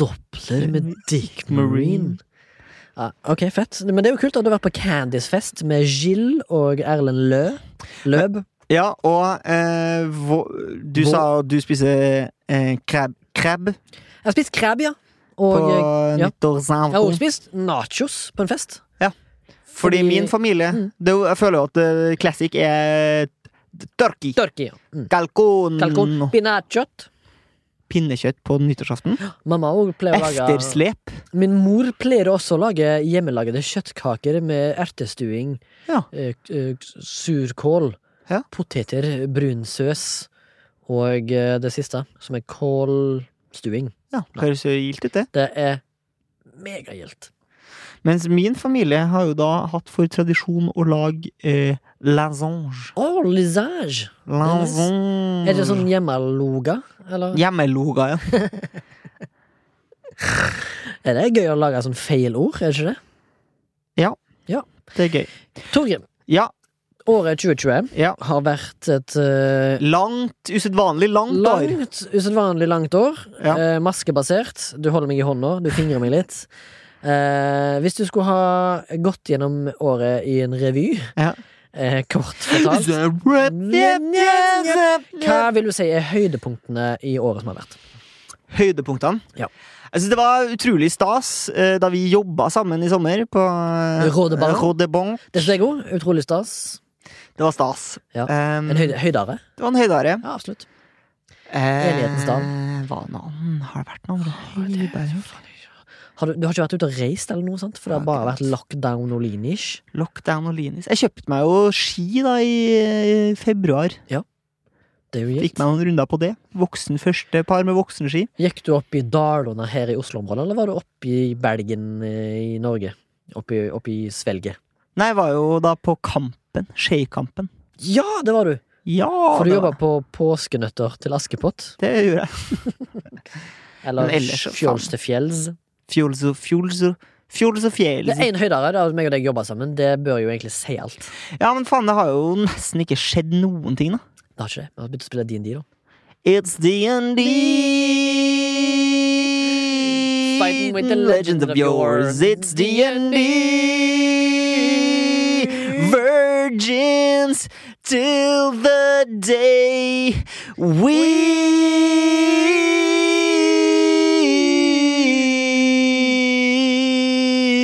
Doppler med Dick Marine.
Marine.
Ja, ok, fett. Men det er jo kult at du har vært på Candice-fest med Gill og Erlend Lø. Løb.
Ja, og eh, hvor, du
Hvor-
sa du spiser eh, krab, krab
Jeg har spist krab, ja.
på
Og jeg, ja. jeg har
nyttårsaften.
også spist nachos på en fest.
Ja. Fordi min familie
Mm.
det, er jo- Jeg føler jo at eh, classic er turkey.
Turkey. ja. Mm.
Kalkun.
Kalkun. Pinnekjøtt.
pinnekjøtt på nyttårsaften.
Mamma også pleier å lage
Efterslep.
Min mor pleier også å lage hjemmelagde kjøttkaker med ertestuing,
Ja.
eh, k- eh, surkål,
Ja.
poteter, brunsøs og eh, det siste, som er kålstuing.
Ja, høres jo gildt ut, det.
Det er megagildt.
Mens min familie har jo da hatt for tradisjon å lage eh, lasange.
Å, lisage!
Lasange.
Er det sånn hjemmeloga, eller?
Hjemmeloga, Mm. ja.
Er det gøy å lage sånn feil ord, er det ikke det?
Det er gøy.
Torgrim,
Ja,
året 2020
ja.
har vært et eh,
Langt, usedvanlig langt, år.
Langt, usedvanlig langt år.
Ja.
Eh, maskebasert. Du holder meg i hånda, du fingrer meg litt. Eh, hvis du skulle ha gått gjennom året i en revy,
Ja.
eh, kort fortalt
Hva-
Hva vil du si er høydepunktene i året som har vært?
Høydepunktene.
Ja.
Jeg synes det var utrolig stas eh, da vi jobba sammen i sommer på eh,
Rådebank.
Rådebank.
Det synes jeg òg. Utrolig stas.
Det var stas.
Ja.
Em,
En høyde, høydare.
Det var en høydare.
Ja, absolutt. Enighetens
Enighetens
dal.
Eh, Hva er noe annet? Har det vært noe annet? Høydare?
Har du, du har ikke vært ute og reist, eller noe sant? for det har bare vært lockdown og leanish?
Lockdown og linis. Jeg kjøpte meg jo ski da i eh, februar.
Det er jo
Fikk
gildt.
meg noen runder på det. Voksen første par med voksenski.
Gikk du opp i Dalona her i Oslo-området, eller var du oppe i Belgen eh, i Norge? Oppe i, oppe i svelget?
Nei, jeg var jo da på Kampen. Skeikampen.
Ja, det var du!
Ja!
For du
det var-
jobba på påskenøtter til Askepott?
Det gjorde jeg.
Eller
Men ellers, faen.
Fjols til fjells?
Fjols og fjols og Fjols og
Det
fjells.
er én høydere, da meg og deg jobba sammen. Det bør jo egentlig si alt.
Ja, men faen, det har jo nesten ikke skjedd noen ting, da.
Det har ikke det. Vi har begynt å spille DND, da.
It's D&D
Fighting with the legends of yours.
It's D&D Virgins till the day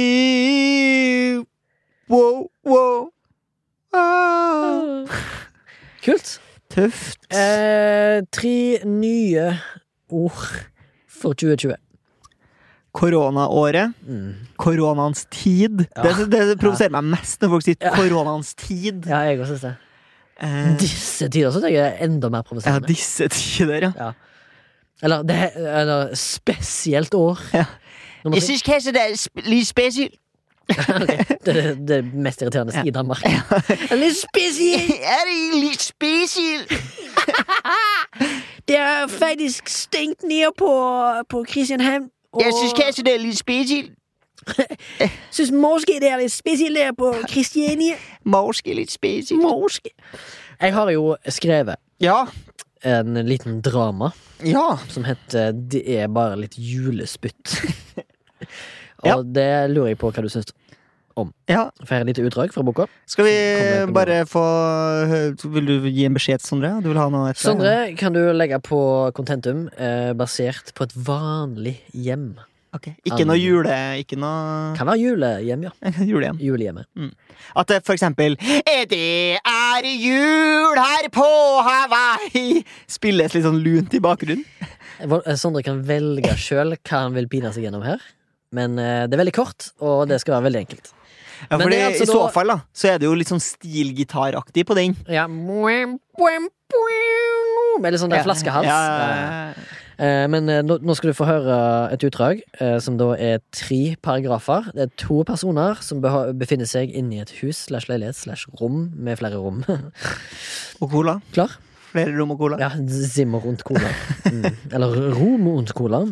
we Wow, wow
Eh.
ah. [laughs]
Kult.
Tøft
Eh, tre nye ord for 2020.
Koronaåret
Mm.
Koronaens tid.
Ja.
Det, det, det provoserer meg mest når folk sier 'koronaens tid'.
Ja, jeg òg syns det.
Eh,
Disse tider syns jeg er enda mer
ja,
provoserende.
disse tider, ja.
Eller, det, eller spesielt år.
Ja.
Nummer [laughs] tre.
syns kanskje det er sp- litt [laughs] spesielt.
Det, det, det mest irriterende i Danmark. [laughs] Eller spesielt!
Er det litt spesielt?
Det er faktisk stengt ned på, på Christianhavn. Og
kanskje det er litt spesielt.
syns måske det er litt spesielt der på Christiania.
Morske litt spesielt.
Måske. Jeg har jo skrevet
Ja.
en liten drama
Ja.
som heter 'Det er bare litt julespytt'. Og
[laughs] Ja.
det lurer jeg på hva du syns om.
Ja.
Får jeg et lite utdrag fra boka?
Skal
Kommer
vi
på
bare få Vil du gi en beskjed til Sondre? Du vil ha noe etter?
Sondre, kan du legge på kontentum eh, basert på et vanlig hjem?
Ok. Ikke noe jule... Ikke noe [laughs]
Kan være julehjem, ja.
julehjem.
Julehjemmet.
At det for eksempel "Eh, Det er jul her på Hawaii Spilles litt sånn lunt i bakgrunnen
Vol- eh, Sondre kan velge sjøl hva han vil pine seg gjennom her. Men eh, det er veldig kort, og det skal være veldig enkelt.
ja,
Men
fordi,
det er altså
I så
da-
fall da Så er det jo litt sånn stilgitaraktig på den
Ja. Med litt sånn der flaskehals.
ja,
Ja. Eh, Men eh, nå nå skal du få høre et utdrag, eh, som da er tre paragrafer. Det er to personer som beha- befinner seg inni et hus slash leilighet slash rom med flere rom. [laughs]
Og cola
Klar?
Flere rom og cola
Ja, Zimmer rundt cola. Mm. Eller Rom rundt cola.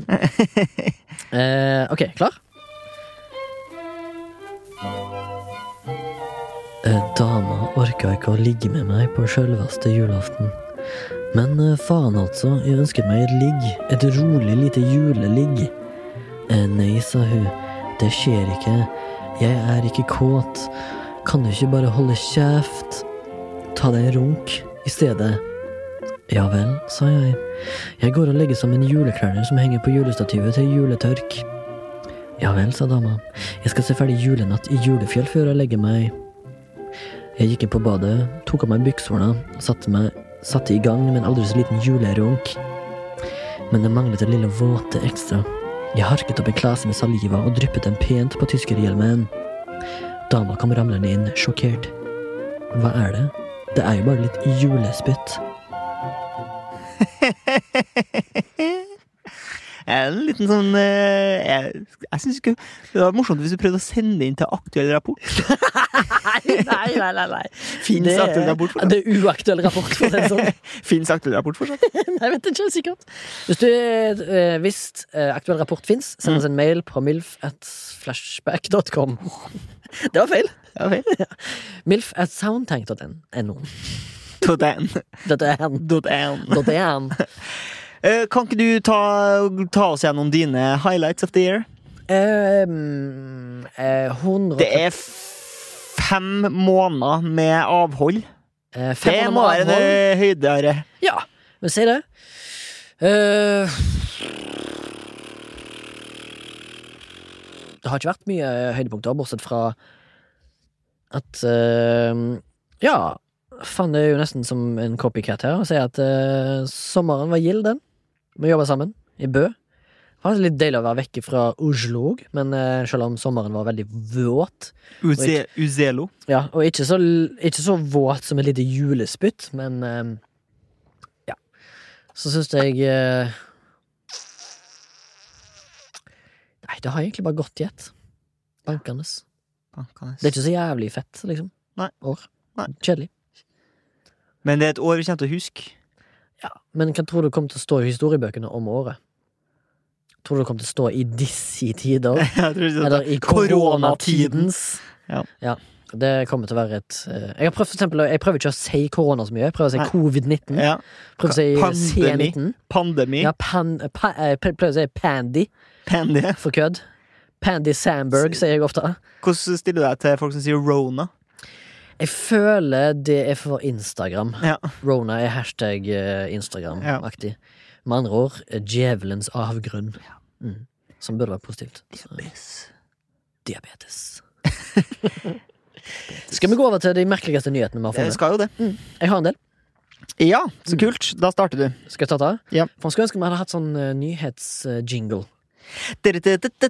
Eh, ok, klar? Eh, dama orka ikke å ligge med meg på sjølveste julaften. Men eh, faen altså, jeg ønsket meg et ligg. Et rolig lite juleligg. Eh, nei, sa hun. Det skjer ikke. Jeg er ikke kåt. Kan du ikke bare holde kjeft? Ta deg en runk i stedet. Ja vel, sa jeg. Jeg går og legger sammen juleklærne som henger på julestativet til juletørk. Ja vel, sa dama. Jeg skal se ferdig Julenatt i julefjell før jeg legger meg. Jeg gikk inn på badet, tok av meg bykshorna, satte, meg, satte i gang med en aldri så liten julerunk. men det manglet det lille våte ekstra. Jeg harket opp en klase med saliva og dryppet den pent på tyskerhjelmen. Dama kom ramlende inn, sjokkert. Hva er det? Det er jo bare litt julespytt.
En liten sånn eh, Jeg, jeg synes ikke Det var morsomt hvis du prøvde å sende inn til aktuell rapport.
Nei, [laughs] nei, nei. nei.
Fins aktuell rapport fortsatt?
det er uaktuell rapport, for å si det
[laughs]
sånn.
Finnes aktuell rapport fortsatt?
Nei, vet ikke sikkert. Hvis du eh, visst eh, aktuell rapport fins,
Mm.
send oss en mail på
[laughs]
milf.flashback.com. Det var feil.
Ja, feil.
Milf at soundtank.no.
Dot N.
Dette er han.
Dot N.
Dette er
[laughs]
han.
Eh, Kan ikke du ta, ta oss gjennom dine highlights of the year?
Ehm, eh, 100
Det er f- fem måneder med avhold.
eh,
Det
500
må være en
avhold.
eh, høydere.
Ja, men si det. Eh, det har ikke vært mye høydepunkter, bortsett fra at eh, Ja, faen, det er jo nesten som en copycat her å si at eh, sommeren var gild, den. Vi jobba sammen i Bø. Det var litt deilig å være vekke fra Oslo òg, men eh, selv om sommeren var veldig våt
Uze, Uzelo.
ja, og ikke så, ikke så våt som et lite julespytt, men ehm, ja. Så syns jeg eh, Nei, det har egentlig bare gått i ett. Bankende. Det er ikke så jævlig fett, liksom.
Nei.
År.
Nei.
Kjedelig.
Men det er et år vi kommer til å huske. [laughs]
Ja. Men hva tror du kommer til å stå i historiebøkene om året? Tror du det kommer til å stå i disse tider?
Jeg tror ikke det.
Eller i
Koronatiden.
koronatidens.
Ja.
Det kommer til å være et eh, Jeg har prøvd for eksempel, jeg prøver ikke å si korona så mye. Jeg prøver å si
Nei.
covid-19.
Ja.
Prøver å si
Pandemi.
C19.
Pandemi.
Ja, pan, pa, eh, prøver å si Pandy
Pandy.
for kødd. Pandy Sandberg sier jeg ofte.
Hvordan stiller du deg til folk som sier Rona?
Jeg føler det er for Instagram.
Ja.
Rona er hashtag eh, Instagram-aktig. Med andre ord eh, djevelens avgrunn. Mm. Som burde være positivt. Så, eh, diabetes. Skal vi gå over til de merkeligste nyhetene vi har
Jeg
funnet?
skal jo det.
Jeg har en del.
Ja, så kult. Da starter du.
Skal jeg ta det?
Ja.
For jeg skulle ønske vi hadde hatt sånn eh, nyhetsjingle. Breaking, Hva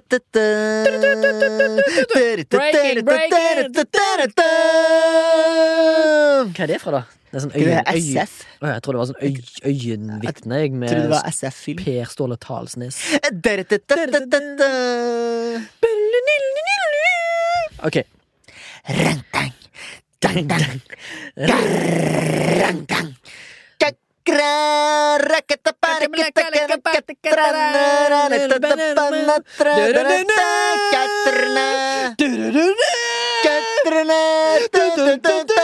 er det fra, da? Det er sånn
Det
øyen,
er
øy-
SF.
Å, jeg trodde det var sånn øy, øyenvitne jeg,
Jeg trodde
med
det var SF-film.
Per Ståle Talsnes.
[laughs]
Ok.
Rentang,
[laughs]
dang-dang, rentang. Kakra, rakata, parakata, karakata, trana, ranatatabana, tradarata, katrana, katrana, tatatata.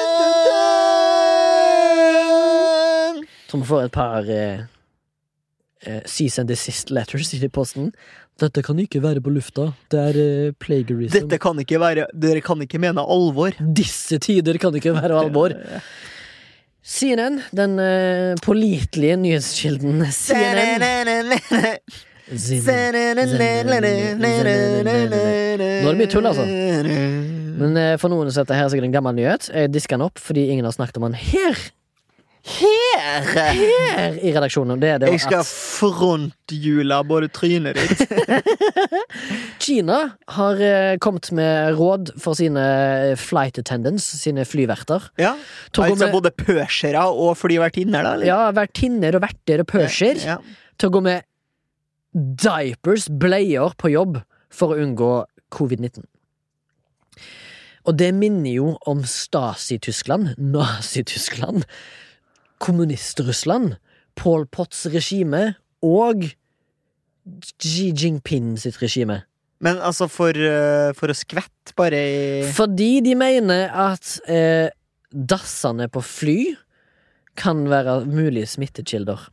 Så vi får et par eh, eh, Cease and desist letters i posten. Dette kan ikke være på lufta. Det er eh, plagiarism.
Dette kan ikke være Dere kan ikke mene alvor.
Disse tider kan ikke være alvor. CNN, den eh, pålitelige nyhetskilden CNN. CNN. Nå er det mye tull, altså. Men eh, for noen så er dette her sikkert en gammel nyhet. Jeg disker den opp fordi ingen har snakket om den her,
Her!
her i redaksjonen. Det er det
Jeg
jo
skal
at
fronthjule både trynet ditt
Kina har eh, kommet med råd for sine eh, flight attendants, sine flyverter.
ja.
Til å gå
Altså
med-
både pøsere og flyvertinner, da? eller?
Ja, vertinner og verter og pøsjer.
Ja.
Til å gå med diapers, bleier, på jobb for å unngå covid-19. Og det minner jo om Stasi-Tyskland, Nazi-Tyskland, Kommunist-Russland, Pol Potts regime og Xi Jinping sitt regime.
Men altså, for, eh, for å skvette bare i
Fordi de mener at eh, dassene på fly kan være mulige smittekilder.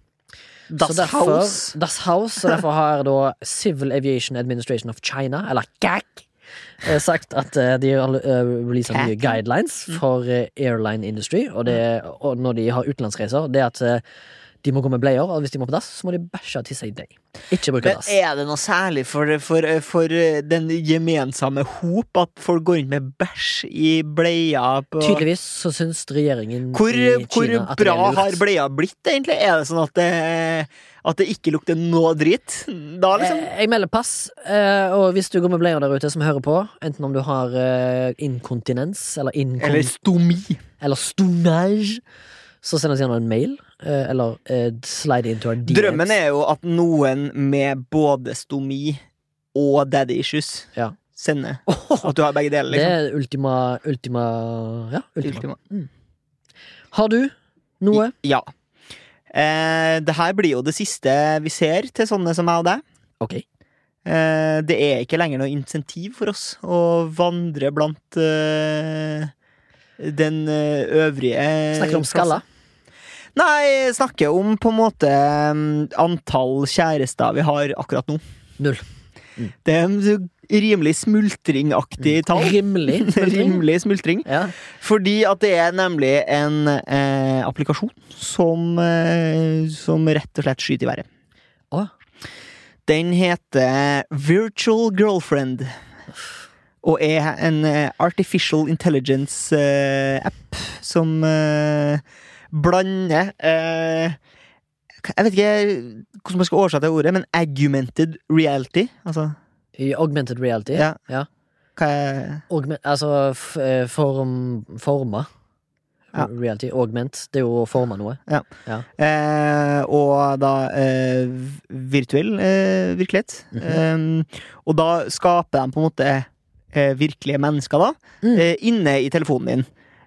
Das
Så derfor-
House.
Das House, så derfor har da Civil Aviation Administration of China, eller CAC, eh, sagt at eh, de har eh, releaset nye
CAC. Mm.
guidelines for eh, airline industry, og det, og når de har utenlandsreiser, det er at eh, De må gå med bleier, og hvis de må på dass, så må de bæsje og tisse i deg. Ikke bruke
Men
dass.
er det noe særlig for, for, for eh, den gemensamme hop at folk går rundt med bæsj i bleia? På
Tydeligvis så syns regjeringen
Hvor,
i
hvor
Kina at det
bra
er lurt.
har bleia blitt, egentlig? Er det sånn at det, at det ikke lukter noe dritt? Da liksom
Eh, Jeg melder pass, eh, og hvis du går med bleier der ute som hører på, enten om du har eh, inkontinens eller, inkon
Eller
eller...
stomi.
stonage, så send oss gjerne en mail, eh, eller eh, slide into our DMs.
Drømmen er jo at noen med både stomi og daddy issues
Ja.
sender. At du har begge deler,
Det
liksom.
er ultima, ultima Ja, ultima.
Ultima.
Har du noe?
Ja. Eh, det her blir jo det siste vi ser til sånne som meg og deg.
Ok.
Eh, det er ikke lenger noe insentiv for oss å vandre blant eh, den eh, øvrige
Snakker om
Eh,
skalla.
Nei, snakker om på en måte mm, antall kjærester vi har akkurat nå.
Null.
Det er en rimelig smultringaktig tall.
Mm. [laughs]
[laughs]
Rimelig. smultring.
Rimelig smultring.
Ja.
Fordi at det er nemlig en eh, applikasjon som, eh, som rett og slett skyter i været.
Å,
Den heter Virtual Girlfriend. Og er en eh, artificial intelligence-app som eh, blander eh, Jeg vet ikke hvordan man skal oversette det ordet, men augmented reality. Altså,
I augmented reality.
ja.
Ja.
Hva er
Augment, altså f eh, form, forma.
Ja.
Reality. Augment. Det er jo å forme noe.
Eh, og da eh, virtuell eh, virkelighet.
Mhm.
eh, og da skaper de på en måte eh, virkelige mennesker, da,
Mm.
eh, inne i telefonen din.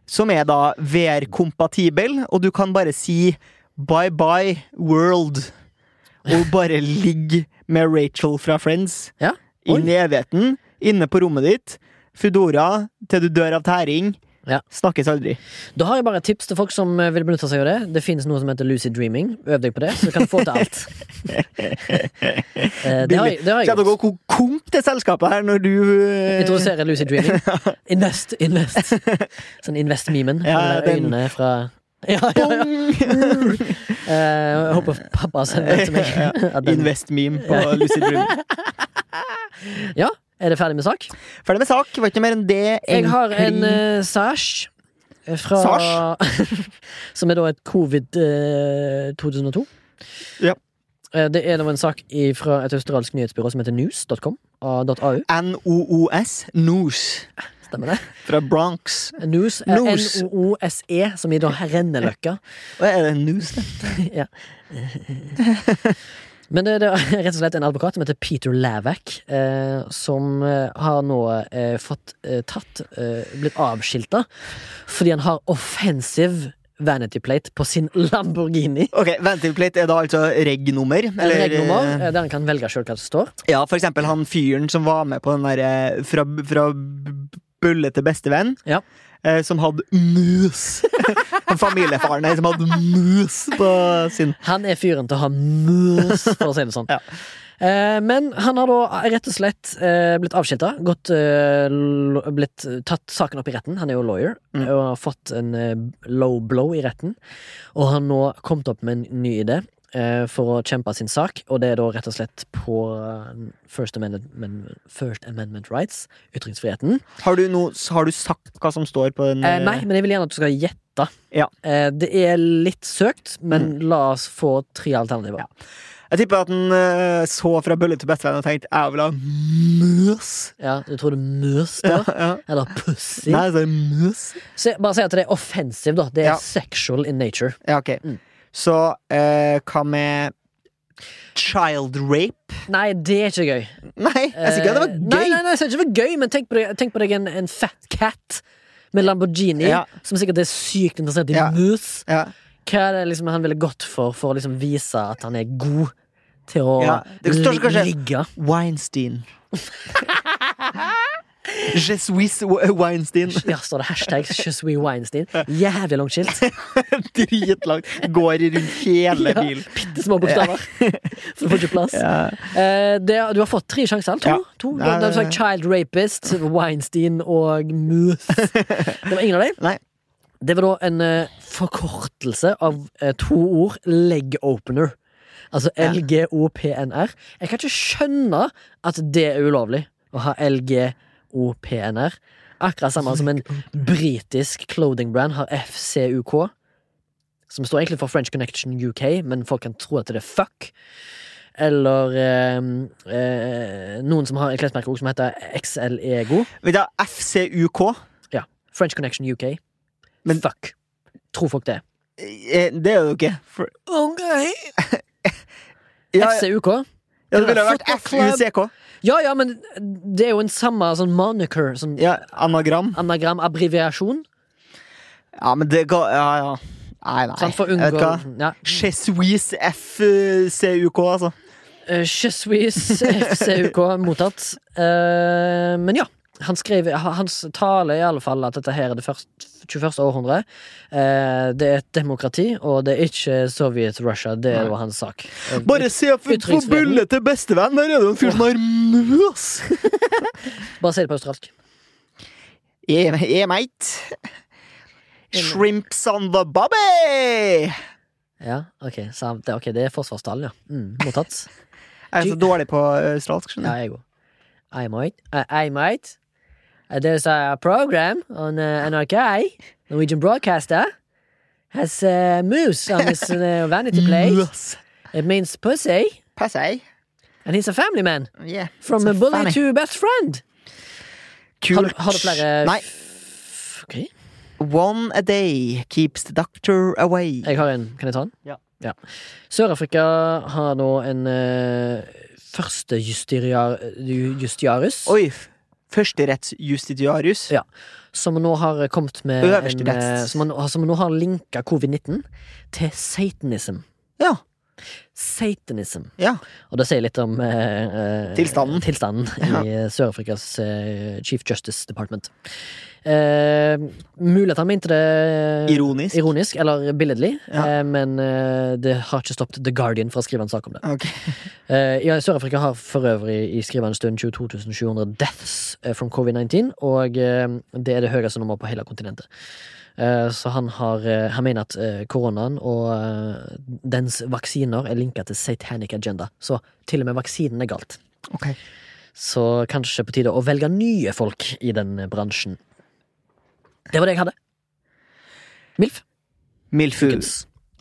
Som er da VR-kompatibel, og du kan bare si bye bye world. Og bare ligge med Rachel fra Friends
Ja.
inn i evigheten, inne på rommet ditt. Foodora til du dør av tæring.
Ja.
Snakkes aldri.
Da har jeg bare et tips til folk som eh, vil benytte seg av det. Det finnes noe som heter Lucy Dreaming. Øv deg på det, så du kan få til
[laughs]
alt. Eh, det har jeg, det har jeg
Skal du gå
gjort.
ko- konk til selskapet her når du eh, [laughs]
Introduserer Lucy Dreaming. Invest, invest. Sånn Invest-memen.
Ja,
med de der
den-
Øynene fra ja, ja, ja. Eh, jeg håper pappa sender det til
[laughs]
meg. [laughs] At den-
Invest-meme
[laughs]
på Lucid Dream.
Ja, er det ferdig med sak?
Ferdig med sak. Var ikke noe mer enn det.
Jeg har en
egentlig.
uh, Sash eh, fra [laughs] Som er da et covid eh, 2002.
Ja.
Eh, det er da en sak fra et australsk nyhetsbyrå som heter news.com. av .au,
NOOS. Noos.
stemmer det?
Fra Bronx.
News er
News.
N-O-O-S-E, E, som i da Renneløkka.
Hva er det Noos? det?
[laughs] ja. Men det, det er rett og slett en advokat som heter Peter Lavak, eh, som eh, har nå eh, fått eh, tatt eh, Blitt avskilta fordi han har offensive vanity plate på sin Lamborghini.
Ok, Ventilplate er da altså reg-nummer.
Eller,
eller,
regnummer,
eh,
eh, der han kan velge sjøl hva det står.
Ja, for eksempel han fyren som var med på den derre fra, fra b- bulle til bestevenn.
Ja.
eh, Som hadde mus. [laughs] Han Familiefaren her som hadde mus på sin
Han er fyren til å ha mus, for å si det sånn.
[laughs] Ja.
Eh, Men han har da rett og slett eh, blitt avskilta. Gått, eh, l- blitt eh, tatt saken opp i retten. Han er jo lawyer
Mm.
og har fått en eh, low blow i retten. Og har nå kommet opp med en ny idé eh, for å kjempe sin sak. Og det er da rett og slett på eh, First Amendment, men- First Amendment Rights, ytringsfriheten.
Har du, noe- har du sagt hva som står på den?
Eh, nei, men jeg vil gjerne at du skal gjette.
Mm. Ja. Mm.
Eh, det er litt søkt, men la oss få tre alternativer.
Jeg tipper at han eh, så fra bølle til bestevenn og tenkte 'jeg vil ha møs'.
Ja, du tror det er møs da?
[laughs] Ja.
Eller pussy?
Nei, så er det møs.
Se, bare si at det er offensive, da. Det er
Ja.
sexual in nature.
Ja, ok.
Mm.
Så eh, hva med child rape? [laughs]
Nei, det er ikke gøy.
Nei, jeg sier ikke at det var
Eh,
gøy.
Nei, nei, nei, jeg sier ikke det var gøy, men tenk på deg, tenk på deg en, en fat cat med Lamborghini,
Ja.
som sikkert er sykt interessert i
Ja.
mus.
Ja.
Hva er det liksom han ville gått for, for å liksom vise at han er god til å
Ja, det står så kanskje-
ligge?
Weinstein.
[laughs]
Je suis Weinstein. [laughs]
Ja, står det hashtag Shuswee Weinstein. Jævlig langt skilt.
Dritlangt. Går rundt hele
Ja,
bilen.
Bitte små bokstaver. [laughs] Så du får ikke plass.
Ja.
Eh, det, du har fått tre sjanser. eller? To.
Ja.
to. Du,
Nei,
du sa
nei, nei. [laughs]
Child Rapist, Weinstein og Moose. Det var ingen av dem.
Nei.
Det var da en eh, forkortelse av eh, to ord. Leg opener. Altså
Ja.
LGOPNR. Jeg kan ikke skjønne at det er ulovlig å ha LGOPNR. Akkurat samme som en britisk clothing brand har FCUK. Som står egentlig for French Connection UK, men folk kan tro at det er fuck. Eller eh, eh, noen som har et klesmerke også som heter XL Ego.
Vet du, FCUK.
Ja. French Connection UK.
Men-
fuck. Tror folk det.
eh, Det er det jo ikke. For, ja, ja,
FCUK?
det ville ha vært
Football club.
FUCK.
Ja ja, men det er jo en samme sånn moniker. Sånn
Ja, anagram.
anagram, abbreviasjon.
Ja, men det går Ja, ja. Nei, nei.
sant, for å
Jeg vet
unngå
hva.
ja.
Chesuis FCUK, altså.
Eh, Je suis FCUK mottatt. Eh, men ja. Han skrev, hans tale er i alle fall at dette her er det først, 21. århundre. Eh, det er et demokrati, og det er ikke Sovjet-Russia. Det
Nei.
var hans sak. Eh,
Bare se opp på
Ytringsfriheten.
bildet til bestevenn! Der er det jo en fyr som har mus!
Bare si det på australsk.
Yeah, yeah, mate. Shrimps on the bobby!
Ja, ok, så det, ok, det er forsvarstalen, ja. Mm, mottatt.
Jeg er så dårlig på australsk,
Ja,
skjønner du.
jeg òg. I might. I, I might. Uh, there's a program on uh, NRK, Norwegian broadcaster, has uh, moose on his uh, vanity
[laughs]
plate.
Mus.
It means pussy,
Pass ei.
and he's a family man.
Yeah.
From
So
a bully
funny.
to best friend. Har,
Kult.
du- har du flere
Nei.
f- Ok,
One a day keeps the doctor away.
jeg har en. Kan jeg ta den?
Ja.
Sør-Afrika har nå en eh, første justiria- ju- justiarius.
Oi! f- Førsterettsjustitiarius.
Ja. som nå har kommet med
Øverste
en, eh,
rest.
som, nå- som nå har linka covid-19 til satanism.
Ja.
Satanism.
ja.
Og det sier litt om eh, eh,
Tilstanden.
tilstanden i eh, Sør-Afrikas eh, Chief Justice Department. Eh, mulig at han mente det
Ironisk.
ironisk eller billedlig,
Ja.
eh, men eh, det har ikke stoppet The Guardian fra å skrive en sak om det.
Ok.
Eh, ja, Sør-Afrika har for øvrig i skrivende stund 22 700 deaths eh, from covid-19, og eh, det er det høyeste nummeret på hele kontinentet. Eh, så han, har, eh, han mener at eh, koronaen og eh, dens vaksiner er linka til satanic agenda. Så til og med vaksinen er galt.
Ok.
Så kanskje på tide å velge nye folk i den bransjen. Det var det jeg hadde. Milf.
Milfu.
Guds.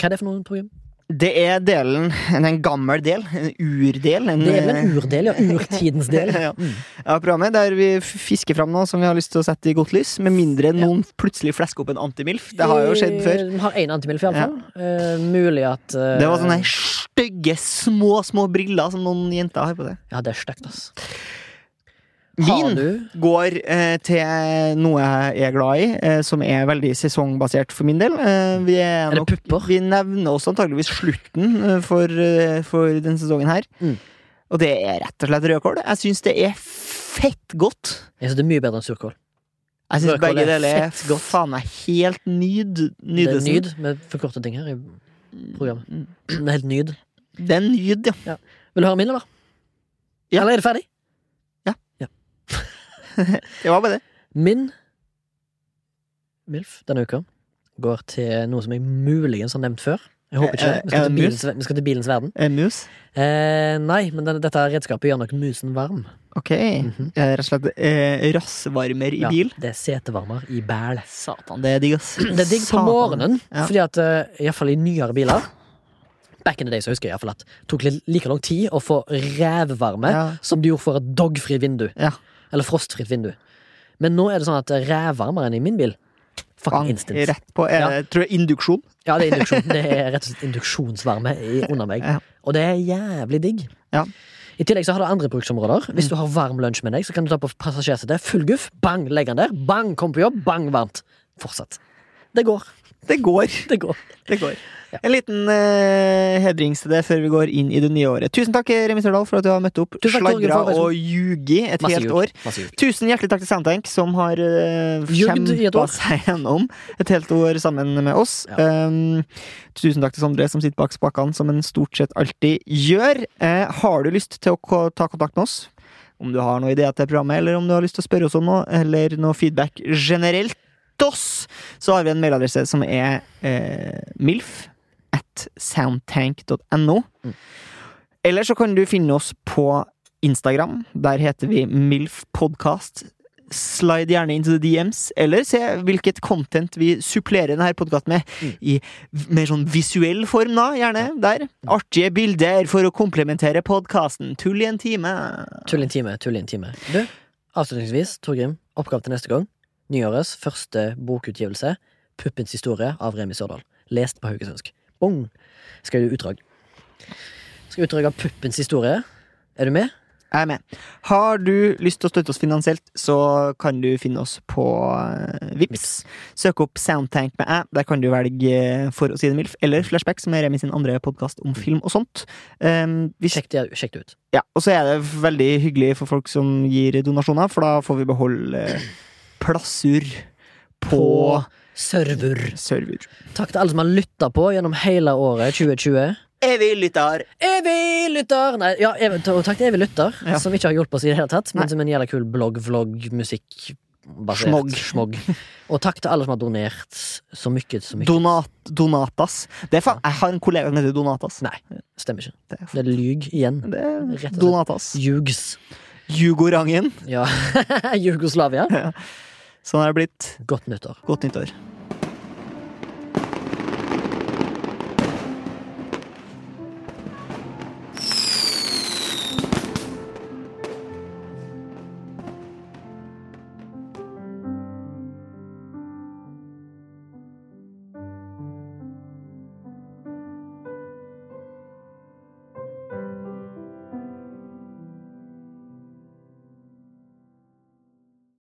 Hva er det for noe program?
Det er delen, en gammel del, en urdel. En, eh,
Det er vel en urdel, ja. Urtidens del.
[laughs] Ja.
Mm.
av programmet der vi f- fisker fram noe som vi har lyst til å sette i godt lys. Med mindre noen plutselig flesker opp en antimilf. Det har jo skjedd før.
Vi Eh, har én antimilf, iallfall. fall mulig at eh,
Det var sånn- sånne stygge, små, små briller som noen jenter har på det.
Ja, det er stygt, ass. Har
Min
du
går eh, til noe jeg er glad i, eh, som er veldig sesongbasert for min del. Eh, vi er,
Er det
nok,
pupper?
Vi nevner også antageligvis slutten eh, for, eh, for denne sesongen her.
Mm.
Og det er rett og slett rødkål. Jeg syns det er fett godt.
Jeg synes det er mye bedre enn surkål.
Jeg syns
Rødkål
begge
er
deler er
fett godt.
faen meg helt nyd.
Det er
Nydelsen.
nyd med forkorte ting her i programmet.
Mm,
[clears throat] Det er helt nyd.
Det er nyd, ja.
Vil du høre min, eller?
Ja.
Eller er det ferdig?
Det var bare det.
Min MILF denne uka går til noe som jeg muligens har nevnt før. Jeg håper ikke det. Vi skal til
Er det Eh, mus?
bilens, vi skal til bilens verden.
En mus.
Eh, nei, men den, dette redskapet gjør nok musen varm. Mhm.
Ok. Jeg er Rett og slett eh, rassvarmer i
Ja,
bil.
det er setevarmer i bæl.
Satan, det er digg, ass.
Det er digg på
Satan.
morgenen,
Ja.
fordi at eh, i hvert fall i nyere biler Back in the day så husker jeg i hvert fall at det tok litt- like lang tid å få rævvarme
Ja.
som det gjorde for et dogfri vindu.
Ja.
Eller frostfritt vindu. Men nå er det sånn at rævvarmeren i min bil
Bang,
Fucking instant.
Rett på. Eh,
Ja.
Tror jeg induksjon.
Ja, det er induksjon. Det er rett og slett induksjonsvarme i- under meg.
Ja.
Og det er jævlig digg.
Ja. Mm.
I tillegg så har det andre bruksområder. Hvis du har varm lunsj med deg, så kan du ta på passasjersetet. Full guff. Bang, legg den der. Bang, kom på jobb. Bang, varmt. Fortsatt. Det går.
Det går.
Det går.
Det går. En liten eh, hedrings til det før vi går inn i det nye året. Tusen takk, Remi Sørdal, for at du har møtt opp,
Tusen takk, Torgeir,
sladra
for at jeg-
og ljugi et
Masse
helt
ljug.
år.
Masse ljug.
Tusen hjertelig takk til Soundtank, som har uh,
Jugd i et
kjempa
år.
seg gjennom et helt år sammen med oss.
Ja.
Um, tusen takk til Sondre, som sitter bak spakene, som en stort sett alltid gjør. Eh, har du lyst til å ko- ta kontakt med oss? Om du har noen ideer til programmet, eller om du har lyst til å spørre oss om noe, eller noe feedback generelt, oss, så har vi en mailadresse som er eh, milf at soundtank.no.
Mm.
Eller så kan du finne oss på Instagram. Der heter vi milfpodkast. Slide gjerne inn til the DMs, eller se hvilket content vi supplerer denne podkasten med.
Mm.
I v- mer sånn visuell form, da. Gjerne der. Artige bilder for å komplementere podkasten. Tull i en time.
Tull i en time, tull i en time. Du, avslutningsvis, Torgrim, oppgave til neste gang. Nyårets første bokutgivelse, Puppens historie av Remi Sørdal. Lest på haugesundsk. Bong! Skal du utdrag. Skal utdrag av Puppens historie. Er du med?
Jeg er med. Har du lyst til å støtte oss finansielt, så kan du finne oss på eh, Vips. Søk opp Soundtank med æ. Der kan du velge eh, For å si det mildt, eller Flashback, som er Remi sin andre podkast om film og sånt. Um, hvis,
Sjekk det, sjekk det ut.
ja, og så er det veldig hyggelig for folk som gir donasjoner, for da får vi beholde eh, plassur på
På- Server.
server.
Takk til alle som har lytta på gjennom hele året 2020.
Evig lytter.
Evig lytter! Nei, ja, evig, og takk til evig lytter,
Ja.
som ikke har hjulpet oss i det hele tatt, men
Nei.
som en jævla kul blogg, vlogg, musikk basert
Smog.
smog. Og takk til alle som har donert så mye, så mye.
Donat, donatas. Det er faen, jeg har en kollega som heter Donatas.
Nei. Stemmer ikke.
Det er,
Det
faen-
er lyg igjen.
det er
Rett og slett.
Donatas.
Ljugs.
Jugorangen.
Ja. [laughs] Jugoslavia.
Sånn er det blitt.
Godt nyttår.
Godt nyttår.